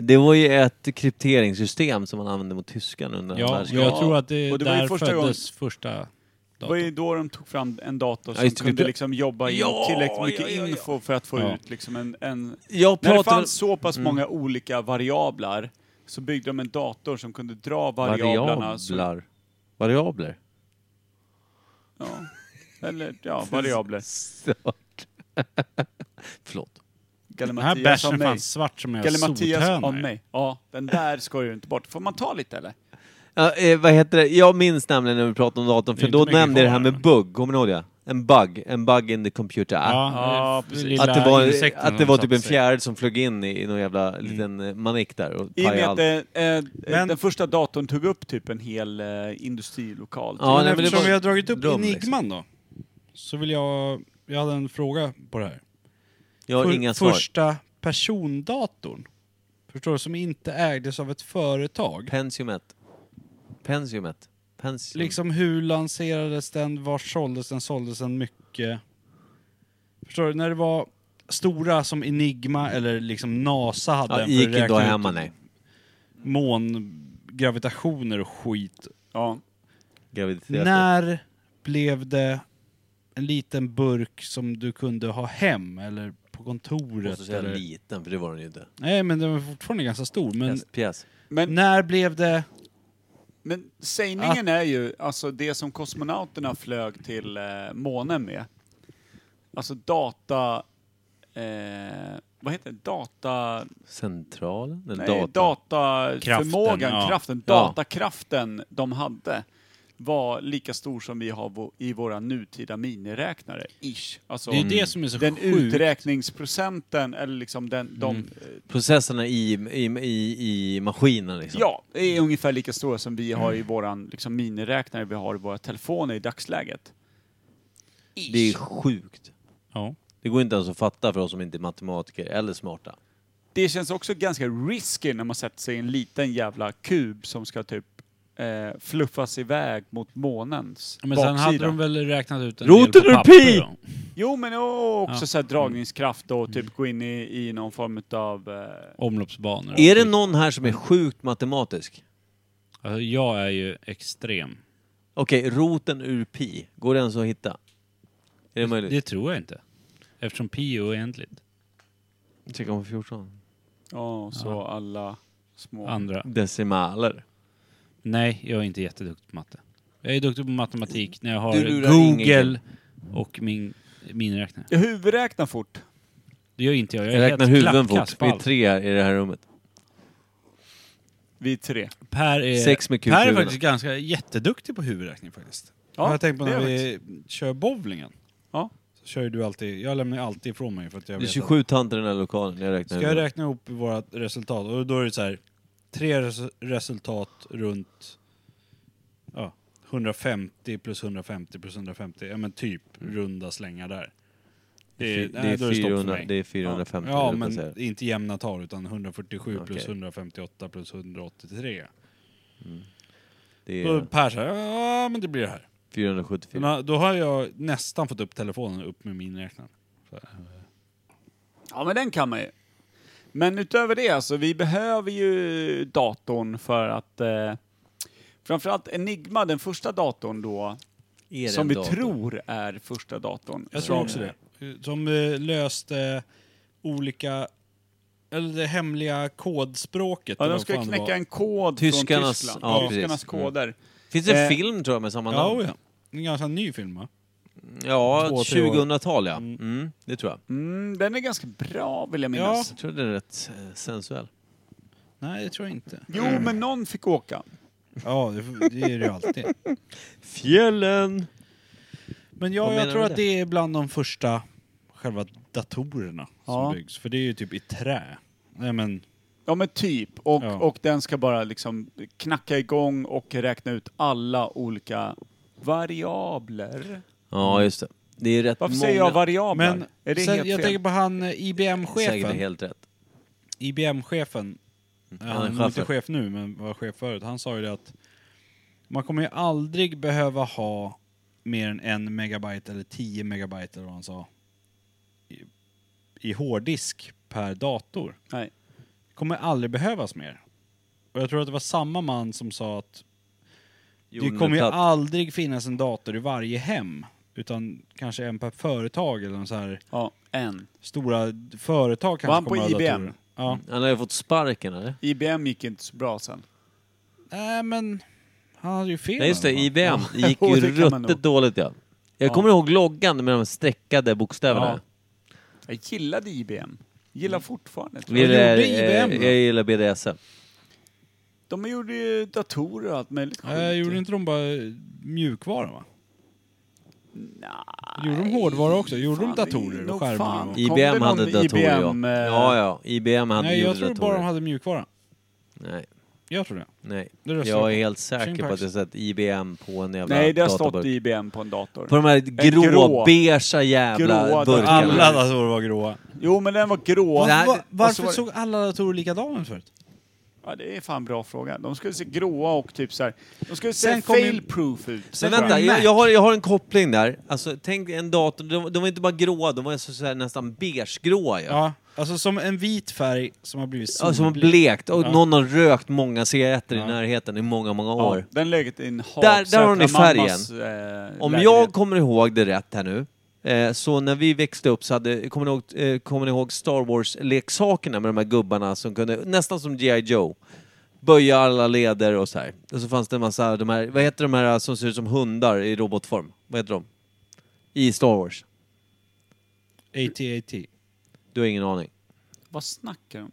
S3: Det var ju ett krypteringssystem som man använde mot tyskan under andra
S1: ja
S3: världskriget.
S1: jag tror att det,
S2: Och det var ju
S1: där
S2: första
S1: föddes första
S2: Det var ju
S1: datorn.
S2: då de tog fram en dator som
S3: just det, vi
S2: kunde
S3: pr-
S2: liksom jobba in
S3: Ja,
S2: tillräckligt mycket
S3: ja, ja, ja.
S2: info för att få
S1: Ja.
S2: ut liksom en... en
S3: Jag
S2: När det
S3: pratar...
S2: fanns så
S1: Mm.
S2: pass många olika variabler så byggde de en dator som kunde dra variablerna.
S1: alltså.
S2: Så,
S3: Variablar. Variabler.
S2: ja. Eller ja, variabler.
S3: Stört. Förlåt.
S1: Den här
S2: Gallimatias av
S1: bärsen
S2: mig.
S1: fanns svart som en
S2: Gallimatias av
S1: sothönor.
S2: mig. Ja, den där ska ju inte bort. Får man ta lite eller?
S3: Ja, eh, vad heter det? Jag minns nämligen när vi pratade om datorn,
S1: Det är
S3: för
S1: inte
S3: då
S1: mycket
S3: nämnde jag det
S1: kvar.
S3: här med bug, kommer ni ihåg det? En bug, en bug in the computer.
S1: Ja,
S2: Ja,
S1: f-
S2: precis.
S1: lilla
S3: att det var,
S1: insekten
S3: att det var
S1: som
S3: typ en
S1: satte sig.
S3: fjäril som flög in i, i någon jävla
S1: Mm.
S3: liten eh, manik där
S2: I
S3: och
S2: och
S3: pajade
S2: med
S3: allt.
S2: att eh, eh,
S1: Men-
S2: den första datorn tog upp typ en hel eh, industrilokal. typ.
S3: Ja,
S1: Men
S3: nej, men det
S1: eftersom
S3: var liksom.
S1: vi har dragit upp
S3: dröm,
S1: Enigman då, så vill jag... Jag hade en fråga på det här.
S3: Jag har
S1: För-
S3: inga svar.
S1: första persondatorn, förstår du, som inte ägdes av ett företag.
S3: Pensiumet. Pensiumet. Pension.
S1: liksom hur lanserades den, var såldes den, såldes den mycket? Förstår du? När det var stora som Enigma eller liksom NASA hade
S3: ja,
S1: den
S3: gick
S1: att räkna
S3: inte att
S1: ut
S3: hemma, nej.
S1: mångravitationer och skit.
S2: Ja.
S3: Graviditeten.
S1: När blev det en liten burk som du kunde ha hem eller på
S3: Jag måste
S1: kontoret?
S3: säga
S1: Eller?
S3: liten, för det var den ju inte.
S1: Nej, men den var fortfarande ganska stor. Men
S3: Hästpjäs.
S2: Men,
S1: när blev det...
S2: men sägningen är ju alltså det som kosmonauterna flög till eh, månen med. Alltså data... Eh, vad heter det? Data...
S3: Centralen? Den
S2: Nej,
S3: data.
S2: dataförmågan,
S1: Kraften, ja.
S2: kraften,
S3: Ja.
S2: datakraften de hade var lika stor som vi har vo- i våra nutida miniräknare, ish. Alltså,
S1: Det är ju det som är så
S2: den
S1: sjukt. Mm.
S2: uträkningsprocenten, eller liksom den, de,
S3: Processerna i, i, i, i maskinen liksom.
S2: ja, är ungefär lika stora som vi har i våran liksom, miniräknare vi har i våra telefoner i dagsläget.
S3: Det är sjukt.
S1: Ja.
S3: Det går inte ens att fatta för oss som inte är matematiker eller smarta.
S2: Det känns också ganska risky när man sätter sig i en liten jävla kub som ska typ eh, fluffas iväg mot månens
S1: Men sen
S2: baksida.
S1: hade de väl räknat ut en
S3: Roten
S1: del på
S3: ur
S1: papper
S3: pi!
S1: då.
S2: Jo, men och
S1: Ja.
S2: också
S1: Mm.
S2: så här dragningskraft och typ gå in i, i någon form av... Eh,
S1: Omloppsbanor. och
S3: Är det
S1: skit.
S3: någon här som är sjukt matematisk?
S1: Alltså, jag är ju extrem.
S3: Okej, roten ur pi. Går det ens att hitta? Är det möjligt?
S1: Det tror jag inte. Eftersom pi är oändligt.
S3: 3,14.
S2: ja, och så alla små...
S1: Andra.
S3: Decimaler.
S1: Nej, jag är inte jätteduktig på matte. Jag är duktig på matematik när jag har
S3: Du lurar
S1: Google
S3: ingen.
S1: och min, min räknare.
S2: Jag huvudräknar fort.
S1: Det gör inte jag. Jag,
S3: Jag
S1: är
S3: räknar
S1: helt
S3: huvuden
S1: klappkass
S3: fort.
S1: på
S3: Vi är
S1: allt.
S3: tre här i det här rummet.
S2: Vi är tre.
S1: Per är,
S3: Sex med
S1: per är
S3: kukhuvuden.
S1: faktiskt ganska jätteduktig på huvudräkning faktiskt.
S2: Ja,
S1: jag har tänkt på
S2: det
S1: när
S2: är
S1: vi kör bowlingen.
S2: Ja.
S1: Så kör ju du alltid, jag lämnar ju alltid ifrån mig för att jag
S3: Det är
S1: vet
S3: 27 tanter i den här lokalen. Jag
S1: att,
S3: räknar
S1: Ska jag
S3: huvuden.
S1: räkna ihop våra resultat och då är det så här tre res- resultat runt ja, 150 plus 150 plus 150. Ja men typ runda slängar där.
S3: Det är,
S1: nej,
S3: det är,
S1: då är det stopp för
S3: 400,
S1: mig.
S3: det är 450.
S1: Ja,
S3: vill jag
S1: men
S3: säga.
S1: det är inte jämna tal utan 147 plus
S3: Okej.
S1: 158 plus 183.
S3: det
S1: Då
S3: är
S1: Per säger ja men det blir det här.
S3: 474.
S1: Men, då har jag nästan fått upp telefonen upp med min räknare.
S2: Ja, men den kan man ju. Men utöver det, alltså, vi behöver ju datorn för att... Eh, framförallt Enigma, den första datorn då,
S3: Är det
S2: som
S3: en
S2: vi
S3: dator?
S2: tror är första datorn.
S1: Jag tror också det. Som eh, löste olika, eller det hemliga kodspråket.
S2: Ja,
S1: eller
S2: de
S1: vad
S2: ska
S1: fan det
S2: knäcka
S1: var.
S2: en kod från
S3: Tyskarnas-
S2: Tyskland.
S3: ja,
S2: Tyskarnas
S3: precis.
S1: Mm.
S2: koder.
S3: Finns det en
S2: Eh,
S3: film tror jag med samma
S1: Ja,
S3: namn?
S1: oh ja. En ganska ny film va?
S3: Ja,
S1: Två, tre år.
S3: 2000-tal ja. Mm, det tror jag.
S2: Mm, den är ganska bra vill jag
S1: Ja.
S2: minnas.
S3: Jag tror den är rätt eh, sensuell.
S1: Nej, det tror jag inte.
S2: Jo, men någon fick åka.
S1: Ja, det, det är det ju alltid.
S3: Fjällen!
S1: Men
S3: Vad
S1: ja,
S3: menar
S1: jag tror
S3: du
S1: att
S3: med
S1: det är bland de första själva datorerna
S2: Ja.
S1: som byggs. För det är ju typ i trä. Nej men,
S2: Ja men typ. Och,
S1: Ja.
S2: och den ska bara liksom knacka igång och räkna ut alla olika variabler.
S3: Ja, just det. Det är rätt
S2: Varför
S3: många...
S2: säger jag variabler?
S1: men
S2: är det
S1: sen,
S2: helt
S1: jag
S2: fel?
S1: tänker på han eh,
S3: Säkert
S1: IBM-chefen.
S3: helt rätt.
S1: IBM-chefen, eh,
S3: han är
S1: han är inte
S3: chefen.
S1: chef nu men var chef förut, han sa ju det att man kommer ju aldrig behöva ha mer än en megabyte eller 10 megabyte eller vad han sa i, i hårddisk per dator.
S2: Nej.
S1: Det kommer aldrig behövas mer. Och jag tror att det var samma man som sa att det kommer ju
S3: Jonnerplatt.
S1: aldrig finnas en dator i varje hem. Utan kanske en per företag eller någon så här
S2: Ja, en.
S1: stora företag kanske
S2: han på
S1: kommer att ha
S2: IBM?
S1: datorer. Ja.
S3: Han har ju fått sparken eller?
S2: IBM gick inte så bra sen.
S1: Nej men, han hade ju fel.
S3: Nej just det,
S1: va?
S3: IBM. Det gick
S2: Jo,
S3: ju
S2: det kan man nog.
S3: ruttet dåligt ja. Jag
S2: Ja.
S3: kommer ihåg loggan med de streckade bokstäverna.
S2: Jag gillade IBM. Gillar fortfarande. tror
S3: Vi
S1: Vad
S2: jag.
S1: gjorde
S3: är-
S1: IBM
S3: eh,
S1: då?
S3: Jag gillar BDSM.
S2: De gjorde ju datorer och allt möjligt
S1: Ja. Eh, gjorde inte de bara mjukvara va?
S2: Nej.
S1: Gjorde de hårdvara också? Gjorde de
S2: Fan,
S1: datorer och
S2: nog
S1: skärmar
S2: fan
S1: och-
S2: kom det
S3: IBM
S2: någon
S3: hade datorer
S2: IBM, eh,
S3: ja. Ja, ja. IBM hade
S1: Nej jag
S3: gjorde
S1: tror
S3: datorer.
S1: bara de hade mjukvara.
S3: Nej,
S1: Jag tror det.
S3: nej.
S1: Det röstar jag på.
S3: Jag är helt säker på att
S1: Synpax.
S3: jag sett IBM på en jävla
S2: Nej, det har
S3: databurk.
S2: stått IBM på en dator.
S3: På de här grå,
S2: grå-
S3: beiga jävla
S2: grå
S3: burkarna.
S1: Alla datorer var gråa.
S2: Jo, men den var grå.
S3: Det här-
S1: Va- va-
S2: Och
S1: varför
S2: så var det-
S1: såg alla datorer likadana ut förut?
S2: Ja, det är fan bra fråga. De skulle se gråa och typ så här. De skulle se
S1: Sen kom ju-
S2: fail-proof ut.
S3: Men
S1: Sen
S2: tror jag.
S3: vänta,
S1: Mac.
S3: jag, jag, har, jag har en koppling där. Alltså, tänk en dator, de, de var inte bara gråa, de var så, så här, nästan beigegråa ju. Ja.
S1: Ja, alltså som en vit färg som har blivit
S3: Ja, som har
S1: solblek.
S3: blekt och
S1: Ja.
S3: någon har rökt många cigaretter i
S1: Ja.
S3: närheten i många, många
S2: Ja,
S3: år.
S2: den läget i en
S3: Där- där har ni
S2: Hagsätra-mammas, eh,
S3: Om
S2: lägenhet.
S3: jag kommer ihåg det rätt här nu, eh, så när vi växte upp så hade, kommer ni ihåg, eh, kommer ni ihåg Star Wars-leksakerna med de här gubbarna som kunde, nästan som G.I. Joe, böja alla leder och så här. Och så fanns det en massa, de här, vad heter de här som ser ut som hundar i robotform? Vad heter de? I Star Wars.
S1: AT-AT.
S3: Du har ingen aning.
S2: Vad snackar de om?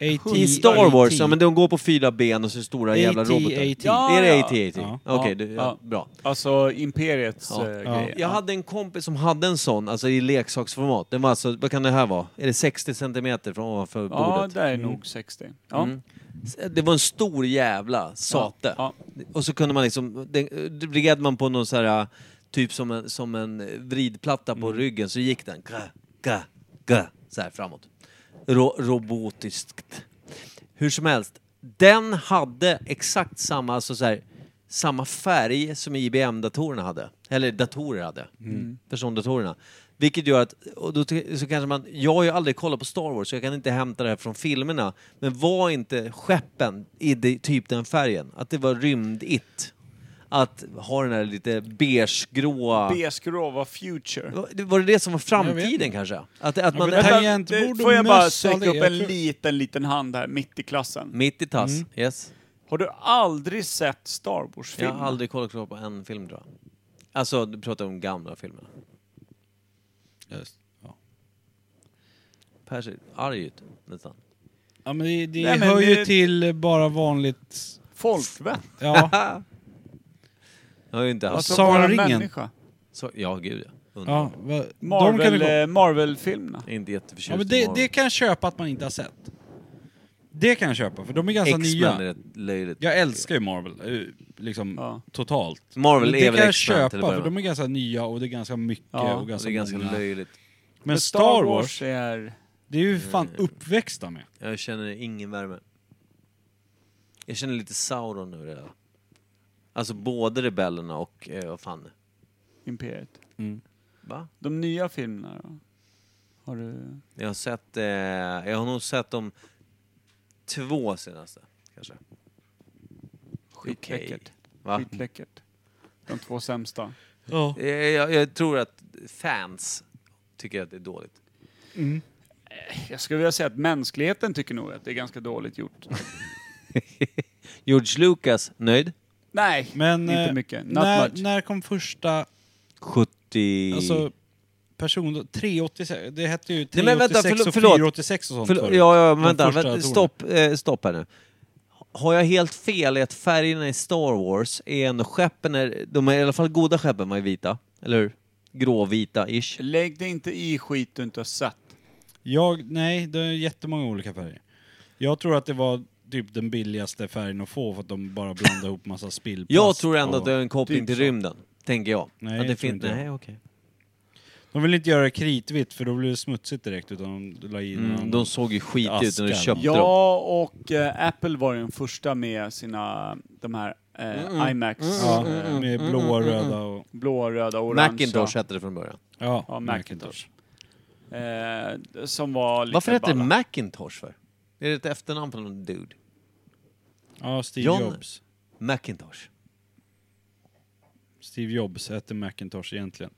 S1: AT,
S3: I Star Wars,
S1: AT.
S3: ja men de går på fyra ben och så stora jävla
S1: AT.
S3: robotar.
S2: Ja,
S3: Är det
S2: ja.
S3: AT-AT?
S1: Ja.
S3: Okej,
S2: Ja,
S3: du-
S2: ja.
S3: ja, bra.
S2: Alltså Imperiets
S3: Ja.
S2: eh,
S1: Ja.
S2: grejer.
S3: Jag hade en kompis som hade en sån, alltså i leksaksformat. Den var alltså, vad kan det här vara? Är det 60 centimeter från ovanför
S2: Ja,
S3: bordet?
S2: där är nog 60. Ja.
S3: Mm. Det var en stor jävla sate.
S2: Ja.
S3: Och så kunde man liksom, den- det vred man på någon så här, typ som en, som en vridplatta på ryggen, så gick den ga, ga, ga, så här framåt. Ro, robotiskt. Hur som helst, den hade exakt samma, alltså så här, samma färg som IBM-datorerna hade. Eller datorer hade. Persondatorerna. Vilket gör att, och då ty- så kanske man, jag har ju aldrig kollat på Star Wars så jag kan inte hämta det här från filmerna. Men var inte skeppen i det, typ den färgen? Att det var rymdigt? Att ha den här lite beigegråa...
S2: Beige-grå var Future.
S3: var det det som var
S1: Jag vet
S3: framtiden kanske? Att, att man...
S1: men det- Tangentbord
S2: det,
S1: och
S2: får jag bara
S1: möss,
S2: sträcka
S1: aldrig-
S2: upp
S1: jag
S2: en
S1: tror-
S2: liten, liten hand här mitt i klassen.
S3: Mitt i tass, yes.
S2: Har du aldrig sett Star
S3: Jag
S2: Wars-filmer?
S3: har aldrig kollat klart på en film tror jag. Alltså, du pratar om gamla filmer.
S1: Just. Ja.
S3: Per ser arg ut, nästan.
S1: Ja men det, det
S2: Nej, men
S1: hör
S2: det-
S1: ju till bara vanligt...
S2: Folkvett.
S1: Ja,
S3: Jag har ju inte haft...
S1: Alltså- Sagan om
S2: bara
S1: ringen.
S2: människa.
S3: Så, ja, gud ja.
S1: ja,
S3: Underbar.
S1: va, de kan
S2: Marvel,
S1: vi gå.
S2: eh, Marvel-filmerna.
S3: Inte
S1: Ja,
S3: jätteförtjust
S1: men
S3: i
S1: det,
S3: Marvel.
S1: det kan jag köpa att man inte har sett. Det kan jag köpa, för de är ganska
S3: X-Men är
S1: nya.
S3: rätt löjligt.
S1: Jag älskar ju Marvel, eh, liksom
S2: Ja.
S1: totalt.
S3: Marvel
S1: Men
S3: är
S1: det
S3: väl
S1: kan jag
S3: X-Men
S1: köpa,
S3: till att börja
S1: för
S3: med.
S1: de är ganska nya och det är ganska mycket
S2: Ja,
S1: och
S3: Det
S1: ganska,
S3: är ganska
S1: många.
S3: löjligt.
S1: Men Star Wars,
S2: Wars är...
S1: det är ju fan uppväxta med.
S3: Jag känner ingen värme. Jag känner lite Sauron nu redan. Alltså både Rebellerna och, eh, vad fan.
S2: Imperiet.
S3: Va?
S2: De nya filmerna då? Har du...
S3: Jag har sett, eh, jag har nog sett de två senaste. Kanske.
S2: Skitläckert.
S3: Va? Mm.
S2: Skitläckert. De två sämsta.
S1: Ja.
S3: Eh, Jag, jag tror att fans tycker att det är dåligt.
S1: Mm.
S2: Jag skulle vilja säga att mänskligheten tycker nog att det är ganska dåligt gjort.
S3: George Lucas, nöjd?
S2: Nej,
S1: Men
S2: inte
S1: eh,
S2: mycket. Not much.
S1: när, när kom första,
S3: 70...
S1: alltså person, 386, det hette ju
S3: Nej, men vänta,
S1: 386 och
S3: förlåt.
S1: 486 och sånt
S3: Förlåt,
S1: förut.
S3: ja, ja,
S1: De
S3: vänta.
S1: första
S3: vänta
S1: datorerna.
S3: stopp, eh, stopp här nu. Har jag helt fel i att färgerna i Star Wars är ändå skeppen är, de är i alla fall goda skeppen, var ju vita. Eller hur? Gråvita-ish.
S2: Lägg dig inte i skit du inte har sett.
S1: Jag, nej, det är jättemånga olika färger. Jag tror att det var typ den billigaste färgen att få för att de bara blandade ihop massa spillplast.
S3: Jag tror ändå
S1: och-
S3: att det är en koppling
S2: Typ
S3: till
S2: så.
S3: rymden, tänker jag.
S1: Nej,
S3: att det
S1: jag tror
S3: fin-
S1: inte det.
S3: Nej, okej.
S1: De vill inte göra det kritvitt för då blir det smutsigt direkt utan de la i
S3: Mm,
S1: någon-
S3: de såg ju skit ut när du
S1: Askan.
S3: köpte dem.
S2: Ja, och eh, Apple var ju den första med sina, de här eh,
S3: Mm,
S2: IMAX.
S1: ja,
S2: eh,
S1: med blåa, röda och...
S2: Blå, röda, orangea.
S3: Macintosh hette det från början.
S1: Ja,
S2: mm. Ja,
S1: Macintosh.
S2: Eh, som var lite
S3: Varför heter det
S2: balla.
S3: Macintosh för? Är det ett efternamn på någon dude?
S1: Ja, Steve
S3: John-
S1: Jobs.
S3: Macintosh.
S1: Steve Jobs hette Macintosh egentligen.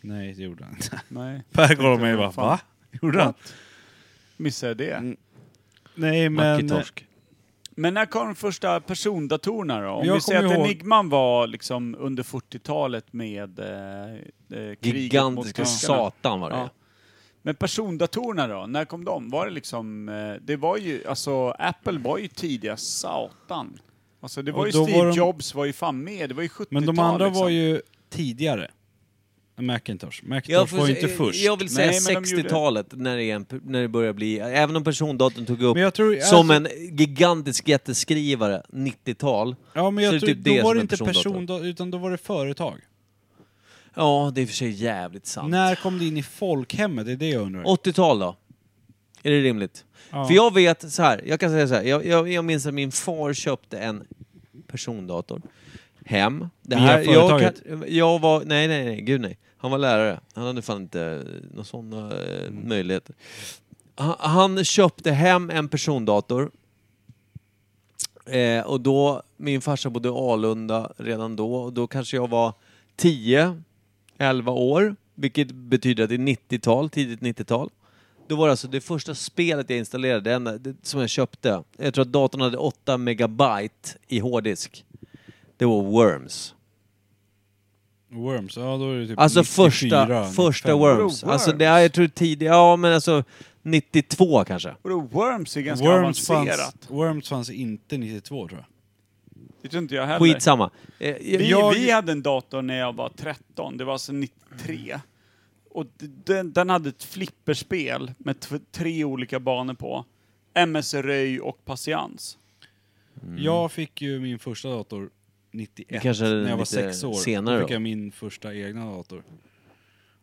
S1: Nej, det gjorde han inte.
S2: Nej,
S1: Per kollar på mig och
S2: mig och bara,
S1: bara,
S2: Fan. va?
S1: va? Gjorde han? Mm.
S2: missade jag det.
S1: Nej, men... eh,
S3: Macintosh.
S2: Men när kom de första persondatorerna då? Om
S1: Jag
S2: vi säger
S1: kommer
S2: att
S1: ihåg-
S2: Enigman var liksom under 40-talet med eh, eh, kriget mot
S3: Gigantiska
S2: tyskarna.
S3: satan var det.
S2: Ja. Men persondatorerna då, när kom de? Var det liksom, eh, det var ju, alltså Apple var ju tidiga satan. Alltså det var
S1: Och
S2: ju
S1: då
S2: Steve
S1: var de-
S2: Jobs var ju fan med, det var ju 70-tal
S1: Men de andra
S2: liksom.
S1: var ju tidigare. än Macintosh.
S3: Jag,
S1: Macintosh
S3: får-
S1: var ju inte först.
S3: jag vill säga
S2: Nej, men de gjorde-
S3: 60-talet när, det är en, när det börjar bli, även om persondatorn tog upp
S1: Men jag tror-
S3: som
S1: alltså-
S3: en gigantisk jätteskrivare, 90-tal.
S1: ja, men
S3: så
S1: jag
S3: är det
S1: tror,
S3: typ det
S1: då var
S3: som
S1: det
S3: är
S1: inte
S3: persondator.
S1: person, utan då var det företag.
S3: Ja, det är i och för sig jävligt sant.
S1: När kom det in i folkhemmet? Det är det jag undrar.
S3: 80-tal då? Är det rimligt?
S1: Ja.
S3: För jag vet så här, jag kan säga så här. Jag, jag, jag minns att min far köpte en persondator hem. Det
S1: Via
S3: här, jag,
S1: företaget?
S3: kan- jag var, nej nej nej, gud nej. Han var lärare. Han hade fan inte eh, några sådana eh, möjligheter. Han, han köpte hem en persondator. Eh, och då, min farsa bodde i Alunda redan då och då kanske jag var 10, 11 år. Vilket betyder att det är 90-tal, tidigt 90-tal. Då var det alltså det första spelet jag installerade, det enda, det, som jag köpte. Jag tror att datorn hade 8 megabyte i hårddisk. Det var Worms.
S1: Worms, ja då är det typ
S3: Alltså
S1: 94,
S3: första,
S1: 95.
S3: första Worms.
S2: Bro,
S3: Alltså det,
S2: Worms.
S3: ja, jag tror tidigt, ja men alltså 92 kanske.
S2: Och då Worms är ganska
S1: Worms
S2: avancerat.
S1: fanns, Worms fanns inte 92 tror jag.
S2: Det tror inte jag heller.
S3: Skitsamma. Eh,
S2: Vi,
S1: Jag-
S2: vi hade en dator när jag var 13, det var alltså 93. Och d- den, den hade ett flipperspel med t- tre olika banor på. MS Röj och Patiens.
S1: Jag fick ju min första dator 91,
S3: Mm. Kanske
S1: när jag var
S3: lite
S1: sex år.
S3: senare
S1: då fick
S3: då.
S1: jag min första egna dator.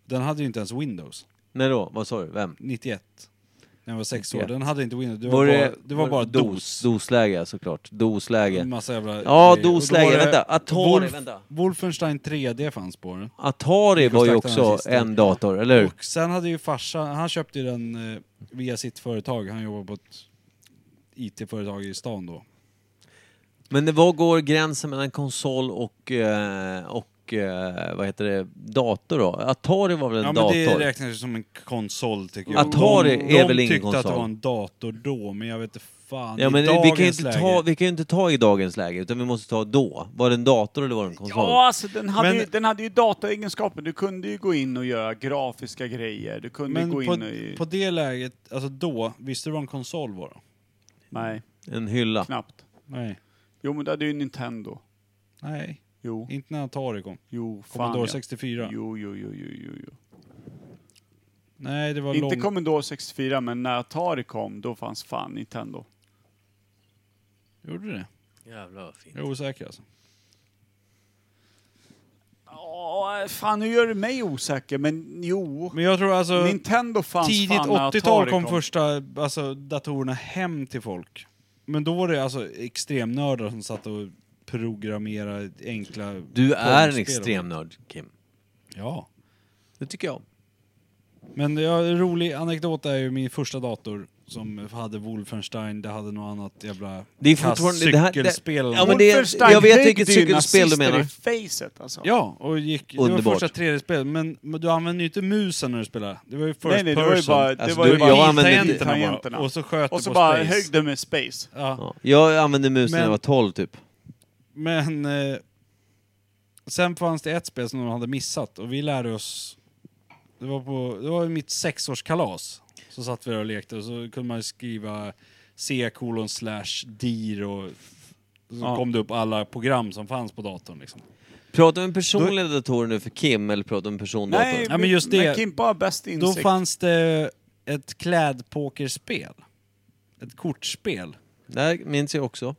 S1: Den hade ju inte ens Windows,
S3: När då? Vad sa du? Vem?
S1: 91. När jag var sex år.
S3: 91.
S1: Den hade inte Windows, det var, bara, det var bara DOS. Mm.
S3: Dosläge såklart.
S1: En
S3: Dosläge.
S1: Massa jävla
S3: Ja,
S1: grejer. Och då
S3: DOS-läge.
S1: var det
S3: Vänta, Atari,
S1: Wolf-
S3: vänta.
S1: Wolfenstein 3D fanns på den.
S3: Atari var ju
S1: Microsoft
S3: också
S1: Analysis,
S3: en dator, eller hur?
S1: Och sen hade ju farsan, han köpte ju den eh, via sitt företag, han jobbar på ett IT-företag i stan då.
S3: Men det- vad går gränsen mellan konsol och, eh, och eh, vad heter det, dator då? Atari var väl en
S1: Ja men det
S3: dator?
S1: räknas ju som en konsol tycker jag.
S3: Atari
S1: de,
S3: är väl ingen
S1: De tyckte att det
S3: konsol?
S1: var en dator då, men jag vet inte fan.
S3: Ja,
S1: i
S3: men vi
S1: dagens
S3: kan, ju inte
S1: läge.
S3: ta, vi kan ju inte ta i dagens läge, utan vi måste ta då. Var det en dator eller var det en konsol?
S2: Ja, alltså den hade,
S1: Men-
S2: ju, den hade ju dataegenskaper. Du kunde ju gå in och göra grafiska grejer. Du kunde
S1: men
S2: gå
S1: på,
S2: in och...
S1: på det läget, alltså då, visste du vad en konsol var då?
S2: Nej,
S3: En hylla.
S2: knappt.
S1: Nej.
S2: Jo, men du hade ju Nintendo.
S1: Nej,
S2: Jo,
S1: inte när Atari kom.
S2: jo, fan
S1: Commodore
S2: ja.
S1: 64.
S2: Jo, jo, jo, jo, jo. jo.
S1: Nej, det var
S2: Inte
S1: lång...
S2: Commodore 64, men när Atari kom, då fanns fan Nintendo.
S1: Gjorde det?
S3: Jävlar vad fint.
S1: Jag är osäker alltså.
S2: Ja, fan nu gör du mig osäker, men jo.
S1: Men jag tror alltså,
S2: Nintendo fanns
S1: tidigt
S2: fan när
S1: 80-tal
S2: Atari
S1: kom första alltså, datorerna hem till folk. Men då var det alltså extremnördar som satt och programmerade enkla...
S3: Du är en
S1: rollspel.
S3: extremnörd, Kim.
S1: Ja.
S3: Det tycker jag.
S1: Men ja, en rolig anekdot är ju min första dator som hade Wolfenstein, det hade något annat jävla
S3: Det är
S1: kass
S3: fortfarande- det här- det-
S1: cykelspel.
S3: ja, men det-
S2: Wolfenstein
S3: jag vet
S2: högg
S3: vilket
S2: ju
S3: cykelspel du menar.
S2: nazister i facet alltså.
S1: Ja, och gick, det var
S3: Underbart.
S1: första 3D-spelet, men, men du använde ju inte musen när du spelade. Det var ju first
S2: nej, nej, det
S1: person.
S2: var ju bara... Det
S3: Alltså,
S2: var ju
S3: du-
S2: bara
S3: jag använde
S2: tangenterna
S1: det-
S2: bara.
S1: och så sköt
S2: Och
S1: du
S2: så
S1: på
S2: bara
S1: space.
S2: högg du med space.
S1: Ja.
S3: Ja. Jag använde mus när
S1: Men-
S3: jag var 12 typ.
S1: Men eh, sen fanns det ett spel som de hade missat och vi lärde oss... Det var på det var ju mitt sexårskalas. Så satt vi där och lekte och så kunde man ju skriva C kolon slash dir och så
S2: Ja.
S1: kom det upp alla program som fanns på datorn liksom.
S3: Pratar vi om personliga datorer nu för Kim eller pratar vi om persondator?
S2: Nej,
S1: Ja, men just det-
S2: Kimpa har bäst
S1: Då
S2: insikt.
S1: fanns det ett klädpokerspel. Ett kortspel.
S3: Det här minns jag också.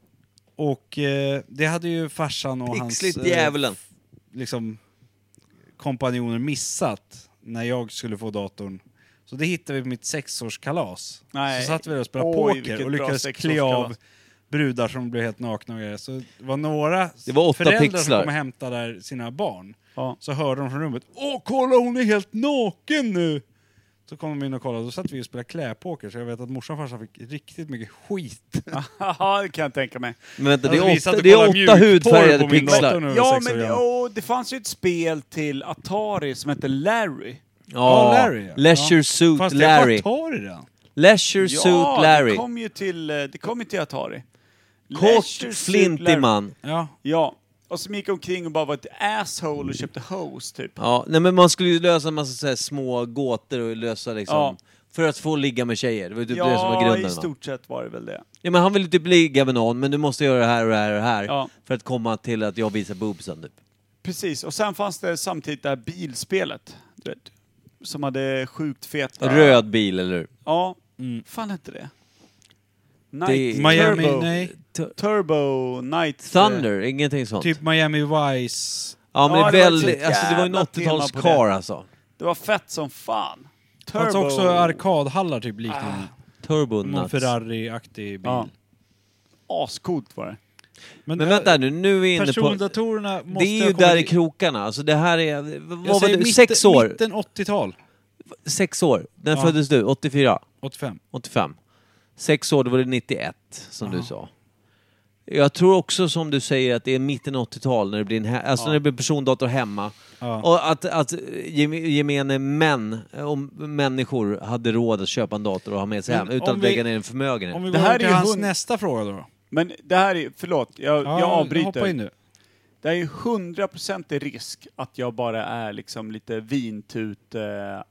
S1: Och eh, det hade ju farsan och
S3: Pixligt
S1: hans... eh,
S3: djävulen.
S1: liksom kompanjoner missat när jag skulle få datorn. Så det hittade vi på mitt sexårskalas.
S2: Nej.
S1: Så satt vi där och spelade
S2: Oj, vilket
S1: poker
S2: bra
S1: och lyckades klä av
S2: sexårskalas.
S1: brudar som blev helt nakna och grejer. Så det var några
S3: Det var åtta
S1: föräldrar
S3: pixlar.
S1: som kom och hämtade där sina barn.
S2: Ja.
S1: Så hörde de från rummet Åh, kolla hon är helt naken nu! Så kom de in och kollade, då satt vi och spelade kläpoker så jag vet att morsan och farsan fick riktigt mycket skit.
S2: Haha, det kan jag tänka mig.
S3: Men vänta, det
S1: Alltså,
S3: är
S1: vi satt
S3: åtta,
S1: och
S3: det är
S1: kollade
S3: åtta
S1: mjukporr
S3: hudfärgade
S1: på min dator
S3: pixlar.
S1: nu. var
S2: Ja,
S1: sex år
S2: men
S1: gammal.
S2: åh, det fanns ju ett spel till Atari som hette Larry.
S1: Ja, Larry, ja.
S3: Leisure
S1: Ja.
S3: Suit
S1: Fast det var
S3: Larry.
S1: Atari den.
S3: Leisure Suit
S2: det
S3: Larry.
S2: kom ju till, eh, det kom ju till Atari. Leisure
S3: Kort,
S2: Suit
S3: flintig
S2: Larry.
S3: man.
S1: Ja,
S2: Ja, och som gick omkring och bara var ett asshole och köpte hose typ.
S3: Ja, nej men man skulle ju lösa en massa så här små gåtor och lösa liksom...
S2: Ja.
S3: För att få ligga med tjejer, det var ju typ det som var
S2: ja, i
S3: grunden va?
S2: stort sett var det väl det.
S3: Ja men han ville typ ligga med någon, men du måste göra det här och det här och det här.
S2: Ja.
S3: För att komma till att jag visar boobsen typ.
S2: Precis, och sen fanns det samtidigt det här bilspelet. Du vet, som hade sjukt feta...
S3: Röd bil eller hur?
S2: Ja.
S1: Mm.
S2: Fan hette det? Night
S3: Det-
S1: Miami,
S2: Turbo.
S1: nej.
S3: T-
S2: Turbo Night...
S3: Thunder, ingenting sånt.
S1: Typ Miami Vice.
S3: Ja
S2: Ja,
S3: men
S2: det var ett
S3: väldigt,
S2: så
S3: alltså det var ju en
S2: jävla tema
S3: 80-tals
S2: på det.
S3: car alltså.
S2: Det var fett som fan. Turbo...
S1: Fanns också arkadhallar typ liknande.
S3: turbo
S1: Någon
S3: Ah, nuts.
S1: Ferrari-aktig bil.
S2: Ja. Ascoolt var det.
S1: Men,
S3: Men vänta nu, nu är vi inne på...
S1: Persondatorerna måste
S3: Det är
S1: ha
S3: ju
S1: kommit
S3: där i
S1: in-
S3: krokarna. Alltså det här är...
S1: Jag
S3: Vad var
S1: säger
S3: du?
S1: mitten-
S3: Sex år?
S1: Mitten 80-tal.
S3: Sex år. När
S1: Ja.
S3: föddes du? 84?
S1: 85.
S3: 85. Sex år, då var det 91 som du sa. Jag tror också som du säger att det är mitten 80-tal när det blir, en he- alltså när det blir persondator hemma.
S1: Ja.
S3: Och att, att gem- gemene män och människor hade råd att köpa en dator och ha med sig
S1: Men
S3: hem utan
S1: om
S3: att
S1: vi-
S3: lägga ner en förmögenhet.
S1: Om vi
S2: Det
S1: går
S2: här
S1: över till
S2: är ju
S1: hans
S2: hund-
S1: nästa fråga då.
S2: Men det här är, förlåt, jag, jag
S1: Hoppa in
S2: avbryter.
S1: nu.
S2: Det är ju 100% risk att jag bara är liksom lite vintut, eh,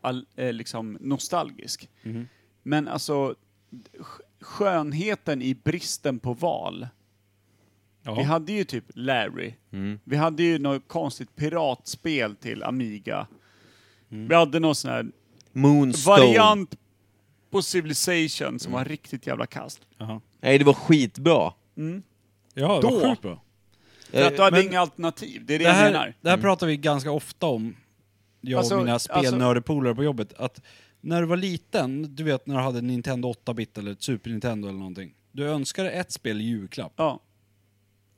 S2: all, eh, liksom nostalgisk.
S1: Mhm.
S2: Men alltså, sk- skönheten i bristen på val. Vi
S1: Ja. Mm.
S2: hade ju typ Larry. Vi hade ju något konstigt piratspel till Amiga.
S1: Mm.
S2: Vi hade någon sån här
S3: Moonstone.
S2: variant på Civilization
S1: Mm.
S2: som var riktigt jävla kast.
S1: Jaha.
S3: Nej, det var skitbra. Eh,
S1: Ja, det var
S2: Då-
S1: sjukt bra.
S2: För att du hade
S1: Eh, men-
S2: inga alternativ, det är det,
S1: Det
S2: jag
S1: här,
S2: menar.
S1: det här pratar vi ganska ofta om, jag och
S2: Alltså,
S1: mina
S2: alltså-
S1: spelnördepolare på jobbet. Att när du var liten, du vet när du hade en Nintendo 8-bit eller ett Super Nintendo eller någonting. Du önskade ett spel i julklapp.
S2: Ja.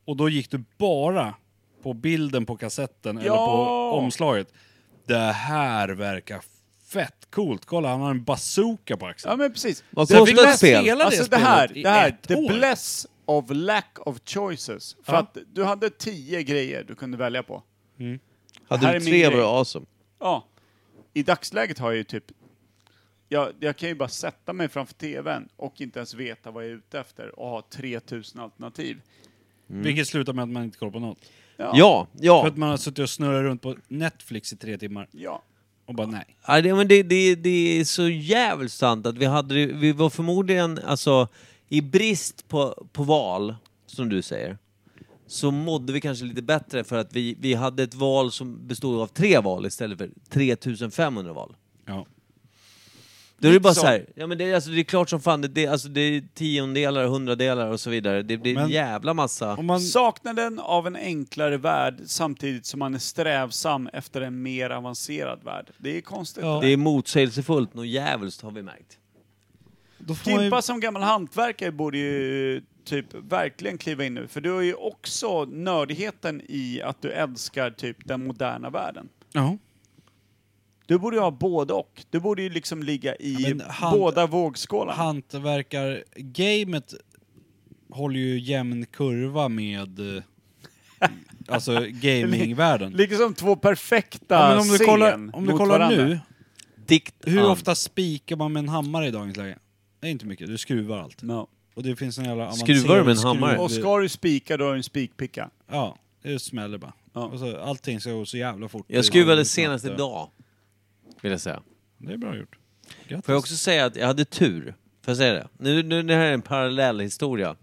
S1: Och då gick du bara på bilden på kassetten eller
S2: Ja!
S1: på omslaget. Det här verkar fett coolt. Kolla, han har en bazooka på axeln.
S2: ja, men precis.
S3: Vad
S1: Så jag fick
S3: kostar ett
S1: läsa
S3: spel?
S1: hela- spela det
S2: Alltså det här,
S1: spelet i
S2: det här,
S1: ett
S2: the
S1: år.
S2: bless of lack of choices. För
S1: Ja.
S2: att du hade tio grejer du kunde välja på.
S3: Hade
S2: här
S3: du
S2: är min
S3: tre
S2: grej.
S3: var awesome.
S2: Ja. I dagsläget har jag ju typ... Jag, jag kan ju bara sätta mig framför TVn och inte ens veta vad jag är ute efter och ha 3000 alternativ.
S1: Vilket slutar med att man inte kollar på något.
S3: Ja,
S1: För
S3: ja.
S1: att man har suttit och snurrat runt på Netflix i tre timmar
S2: Ja.
S1: och bara nej.
S3: Ja, det, men det, det, det är så jävligt sant att vi hade det- vi var förmodligen alltså i brist på, på val, som du säger, så mådde vi kanske lite bättre för att vi, vi hade ett val som bestod av tre val istället för 3500 val.
S1: Ja.
S3: Då är det
S2: Lite
S3: bara
S2: så.
S3: så här, ja men det, är- alltså, det är klart som fan, det, det, alltså, det är tiondelar, hundradelar och så vidare. Det blir en
S1: Men-
S3: jävla massa.
S1: Om man,
S2: Saknaden av en enklare värld samtidigt som man är strävsam efter en mer avancerad värld. Det är konstigt.
S1: Ja.
S2: det
S3: Det
S2: där.
S3: är motsägelsefullt, något jävligt har vi märkt.
S1: då får man ju
S2: Kimpa som gammal hantverkare borde ju typ verkligen kliva in nu. För du har ju också nördigheten i att du älskar typ den moderna världen.
S1: Ja.
S2: Du borde ju ha både och. Du borde ju liksom ligga i
S1: Ja, men han-
S2: båda vågskålarna.
S1: Hantverkar-gamet håller ju jämn kurva med eh, alltså gamingvärlden.
S2: Ligger som två perfekta
S1: Ja, men om du
S2: scen
S1: kollar, om du
S2: mot
S1: kollar
S2: varandra.
S1: nu,
S3: Dikt
S1: hur
S3: an.
S1: ofta spikar man med en hammare i dagens läge? Det är inte mycket, du skruvar allt.
S2: Ja.
S1: Och det finns en jävla avancerad
S3: Skruvar du med en hammare?
S1: skruv-
S2: Och ska du spika, då har du en spikpicka.
S1: Ja, det smäller bara.
S2: Ja.
S1: Och så, allting ska gå så jävla fort.
S3: Jag skruvade
S1: Det-
S3: senast idag, vill jag säga.
S1: Det är bra gjort. Grattis.
S3: Får jag också säga att jag hade tur. Får jag säga det? Nu, nu det här är en parallell historia.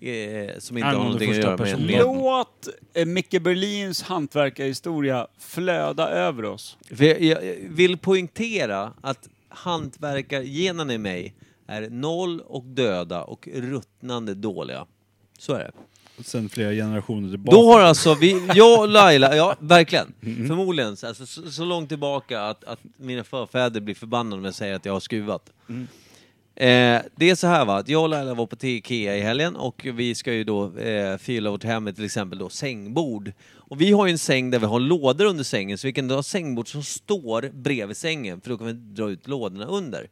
S3: Eh, som inte har
S1: Angående
S3: någonting att
S1: första
S3: göra med,
S1: personen.
S3: med
S2: Låt eh, Micke Berlins hantverkarhistoria flöda över oss.
S3: för jag, jag vill poängtera att hantverkargenen i mig är noll och döda och ruttnande dåliga. Så är det.
S1: Sen flera generationer tillbaka. Mm.
S3: Då har alltså vi, jag och Laila, ja verkligen, förmodligen så- alltså, så, så långt tillbaka att, att mina förfäder blir förbannade om jag säger att jag har skruvat.
S1: Mm.
S3: Eh, det är så här va, att jag och Laila var på till Ikea i helgen och vi ska ju då eh, fylla vårt hem med till exempel då sängbord. Och vi har ju en säng där vi har lådor under sängen så vi kan då ha sängbord som står bredvid sängen för då kan vi dra ut lådorna under.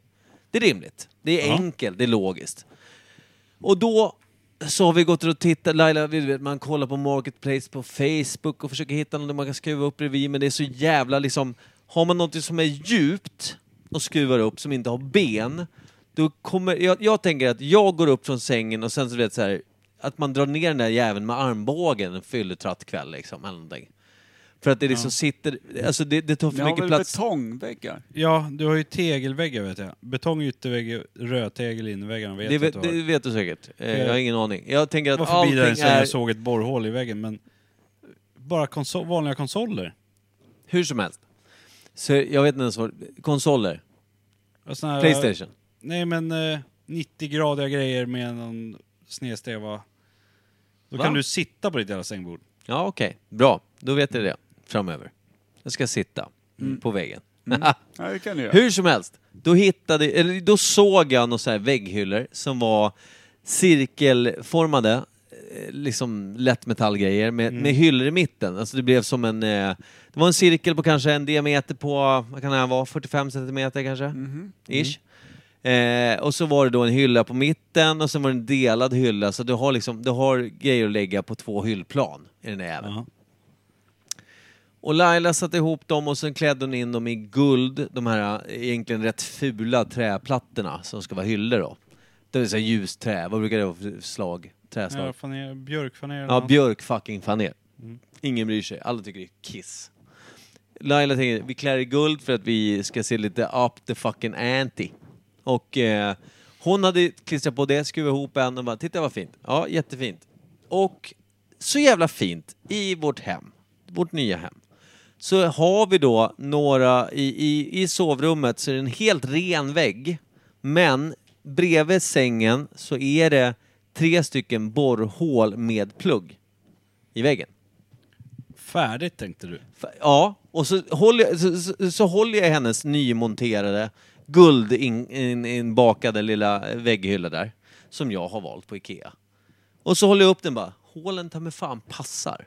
S3: Det är rimligt, det är
S1: Ja.
S3: enkelt, det är logiskt. Och då så har vi gått och tittat, Laila, vi vet, man kollar på Marketplace på Facebook och försöker hitta något man kan skruva upp bredvid, men det är så jävla liksom, har man något som är djupt och skruvar upp som inte har ben, då kommer, jag, jag tänker att jag går upp från sängen och sen så du vet så här, att man drar ner den där jäveln med armbågen en fylletratt kväll liksom, eller någonting. För att det liksom sitter, alltså det, det tar
S2: Ni
S3: för
S2: har väl
S3: mycket plats.
S2: betongväggar?
S1: Ja, du har ju tegelväggar vet jag. Betong yttervägg, rödtegel innerväggarna vet
S3: Det
S1: jag att
S3: vet,
S1: du har.
S3: det vet du säkert. Eh,
S1: För-
S3: Jag har ingen aning. Jag tänker att
S1: var förbi
S3: allting
S1: där sen jag
S3: är
S1: såg ett borrhål i väggen, men bara konso- vanliga konsoler.
S3: hur som helst. Så jag vet inte ens vad... Konsoler.
S1: Och Alltså såna här-
S3: Playstation.
S1: Nej men eh, 90-gradiga grejer med någon snedsteva. Då
S3: Va?
S1: kan du sitta på ditt jävla sängbord.
S3: Ja, okej. Bra. Då vet jag det framöver. Jag ska sitta på väggen.
S2: Ja, det kan du göra.
S3: hur som helst. Då, hittade, eller då såg jag några så här vägghyllor som var cirkelformade, eh, liksom lättmetallgrejer med, med hyllor i mitten. Alltså det blev som en... Eh, det var en cirkel på kanske en diameter på, vad kan det här vara, 45 centimeter kanske? Ish. Eh, och så var det då en hylla på mitten och sen var det en delad hylla så du har liksom, du har grejer att lägga på två hyllplan i den där jäveln.
S1: Ja.
S3: Och Laila satte ihop dem och sen klädde hon in dem i guld, de här eh, egentligen rätt fula träplattorna som ska vara hyllor då. Det vill säga ljusträ, vad brukar det vara för slag? Träslag?
S1: Ja, faner, björkfaner eller
S3: Ja,
S1: något.
S3: björk fucking faner. Ingen bryr sig, alla tycker det är kiss. Laila tänker, vi klär i guld för att vi ska se lite up the fucking ante. Och eh, hon hade klistrat på det, skruvat ihop en och bara, titta vad fint. Ja, jättefint. Och så jävla fint i vårt hem, vårt nya hem. Så har vi då några, i, i, i sovrummet så är det en helt ren vägg. Men bredvid sängen så är det tre stycken borrhål med plugg i väggen.
S1: Färdigt tänkte du.
S3: F- Ja, och så håller jag, så, så, så håller jag hennes nymonterade guldinbakade in, inbakade lilla vägghylla där, som jag har valt på Ikea. Och så håller jag upp den bara, hålen ta mig fan passar.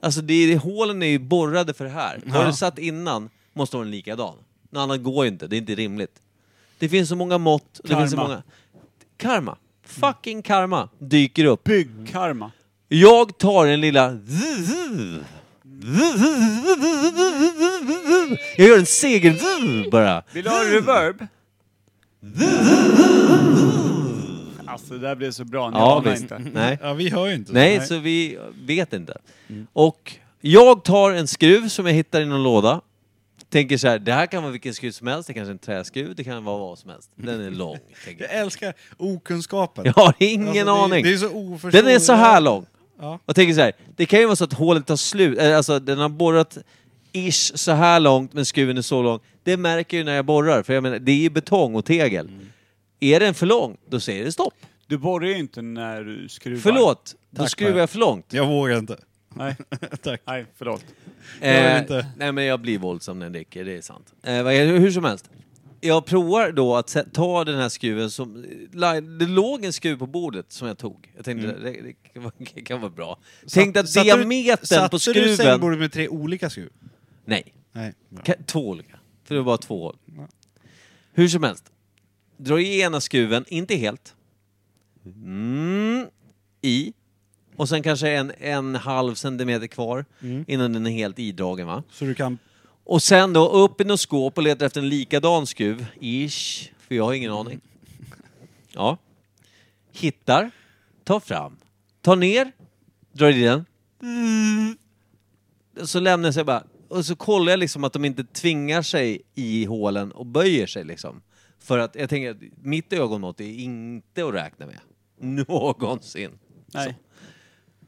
S3: Alltså det, är- hålen är ju borrade för det här. Har du satt innan måste vara den likadan. Något annat går ju inte, det är inte rimligt. Det finns så många mått, det finns så
S2: Karma.
S3: många... Karma. Fucking karma dyker upp.
S2: Byggkarma.
S3: Jag tar den lilla... Jag gör en seger bara.
S2: Vill du ha reverb? Alltså det där blev så bra, ni
S3: Ja,
S2: anar
S3: visst.
S2: inte.
S3: Nej.
S1: Ja, vi hör ju inte.
S3: Nej, så vi vet inte. Och jag tar en skruv som jag hittar i någon låda. Tänker så här, det här kan vara vilken skruv som helst. Det kanske är en träskruv, det kan vara vad som helst. Den är lång. tänker
S1: Jag
S3: jag.
S1: älskar okunskapen.
S3: Jag har ingen
S1: Alltså, det är-
S3: aning.
S1: det är så
S3: Den är
S1: oförståeligt.
S3: så här lång.
S1: Ja.
S3: Och tänker så här, det kan ju vara så att hålet tar slut, eh, alltså den har borrat ish så här långt men skruven är så lång. Det märker jag ju när jag borrar, för jag menar, det är ju betong och tegel.
S1: Mm.
S3: Är den för lång, då säger det stopp.
S2: Du borrar ju inte när du skruvar.
S3: Förlåt, då
S1: Tack,
S3: skruvar
S1: Per.
S3: jag för långt.
S1: Jag vågar inte.
S2: Nej,
S1: Tack.
S2: nej förlåt.
S1: Jag vill
S3: Eh,
S1: inte.
S3: nej men jag blir våldsam när jag dricker, det är sant. Eh, vad- hur som helst. Jag provar då att se- ta den här skruven som... la- Det låg en skruv på bordet som jag tog. Jag tänkte det, det kan vara- det kan vara bra. tänkte att
S1: Satte Mm. du-
S3: diametern på
S1: Satte du
S3: skruven...
S1: sängbordet med tre olika skruv?
S3: Nej.
S1: Nej.
S3: Ka- Två olika. För det var bara två hål. Hur som helst. Drar i ena skruven, inte helt. Mm, I. Och sen kanske en, en halv centimeter kvar
S1: Mm.
S3: innan den är helt idragen va.
S1: Så du kan...
S3: Och sen då upp i något skåp och leta efter en likadan skruv. Ish. För jag har ingen aning. Ja. Hittar. Tar fram. Tar ner. Drar i den. Så lämnar jag sig bara. Och så kollar jag liksom att de inte tvingar sig i hålen och böjer sig liksom. För att jag tänker att mitt ögonmått är inte att räkna med. Någonsin.
S2: Nej.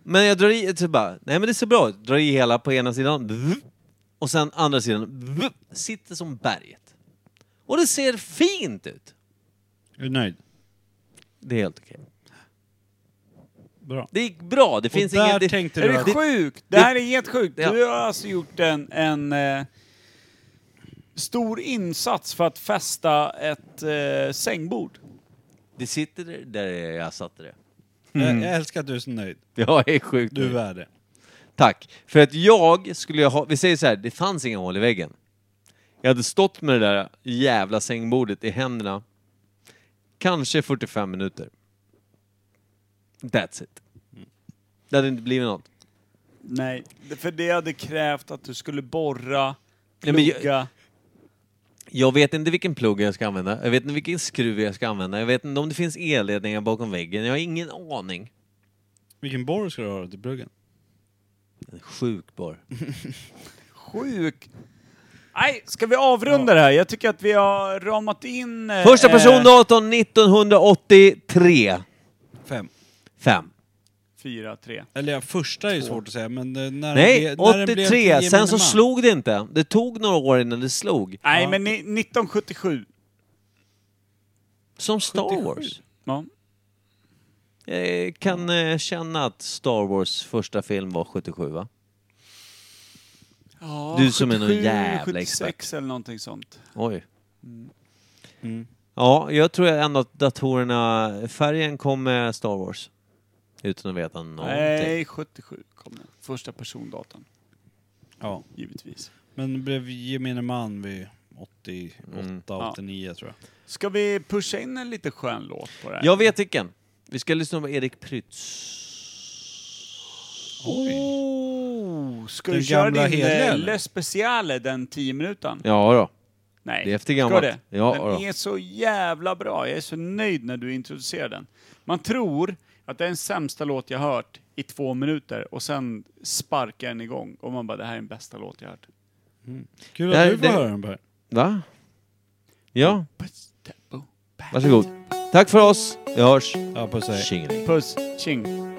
S3: Men jag drar i, så bara, nej men det ser bra ut. Drar i hela på ena sidan. Och sen andra sidan. Sitter som berget. Och det ser fint ut.
S1: Är du nöjd?
S3: Det är helt okej.
S1: Bra.
S3: Det gick bra. Det
S1: Och
S3: finns
S1: där
S3: ingen... Det,
S1: tänkte
S2: Är
S1: du
S2: det
S1: att...
S2: sjukt? Det här är helt sjukt.
S3: Ja.
S2: Du har alltså gjort en, en eh, stor insats för att fästa ett eh, sängbord.
S3: det sitter där- där jag satte det. Mm.
S1: Jag, jag älskar att du är så nöjd.
S3: Jag är sjukt
S1: Du är
S3: nöjd.
S1: värd det.
S3: Tack. För att jag skulle ju ha... Vi säger så här, det fanns inga hål i väggen. Jag hade stått med det där jävla sängbordet i händerna. Kanske 45 minuter. That's it. Det hade inte blivit något.
S2: Nej. Det- För det hade krävt att du skulle borra,
S3: Nej, men jag-
S2: plugga.
S3: Jag vet inte vilken plugg jag ska använda. Jag vet inte vilken skruv jag ska använda. Jag vet inte om det finns elledningar bakom väggen. Jag har ingen aning.
S1: Vilken borr ska du ha till pluggen?
S3: En Sjuk borr.
S2: Sjuk. Nej, ska vi avrunda det här? Jag tycker att vi har ramat in... eh,
S3: Första persondatorn 1983.
S1: Fem.
S3: Fem.
S2: Fyra, tre.
S1: Eller ja, första är svårt att säga, men eh, när
S3: Nej,
S1: den blev- när den blev
S3: 83.
S1: tio
S3: Sen så
S1: man.
S3: slog det inte. Det tog några år innan det slog.
S2: Nej, men ni, 1977.
S3: Som Star Wars.
S2: Ja.
S3: Jag kan eh, känna att Star Wars första film var 77 va? Du som är någon jävla
S2: 76 eller någonting sånt.
S3: Oj.
S1: Mm.
S3: Ja, jag tror ändå att datorerna... Färgen kom med Star Wars. Utan att veta någonting.
S2: Nej, 77 kom den. Första persondatan,
S1: Ja.
S2: givetvis.
S1: Men blev gemene man vid 88,
S3: Mm.
S1: 89 tror jag.
S2: Ska vi pusha in en lite skön låt på det här?
S3: Jag vet vilken. Vi ska lyssna på Erik Prytz.
S1: Oj.
S2: Oh, ska
S1: Den
S2: du köra
S1: gamla
S2: din
S1: hederliga,
S2: eh,
S1: eller?
S2: Le Speciale, den 10 minuten?
S3: Ja då.
S2: Nej,
S3: Det är efter
S2: ska
S3: gammalt.
S2: det?
S3: Ja,
S2: den
S3: då.
S2: är så jävla bra. Jag är så nöjd när du introducerar den. Man tror att det är den sämsta låt jag hört i två minuter och sen sparkar den igång och man bara, det här är den bästa låt jag hört.
S1: Kul
S3: Det här-
S1: att du får
S3: det-
S1: höra den Per.
S3: Va? Ja,
S2: Puss, tabo, pa.
S3: varsågod. Tack för oss. Vi hörs.
S1: Ja, puss hej.
S3: Tjingeling.
S2: Puss, tjing.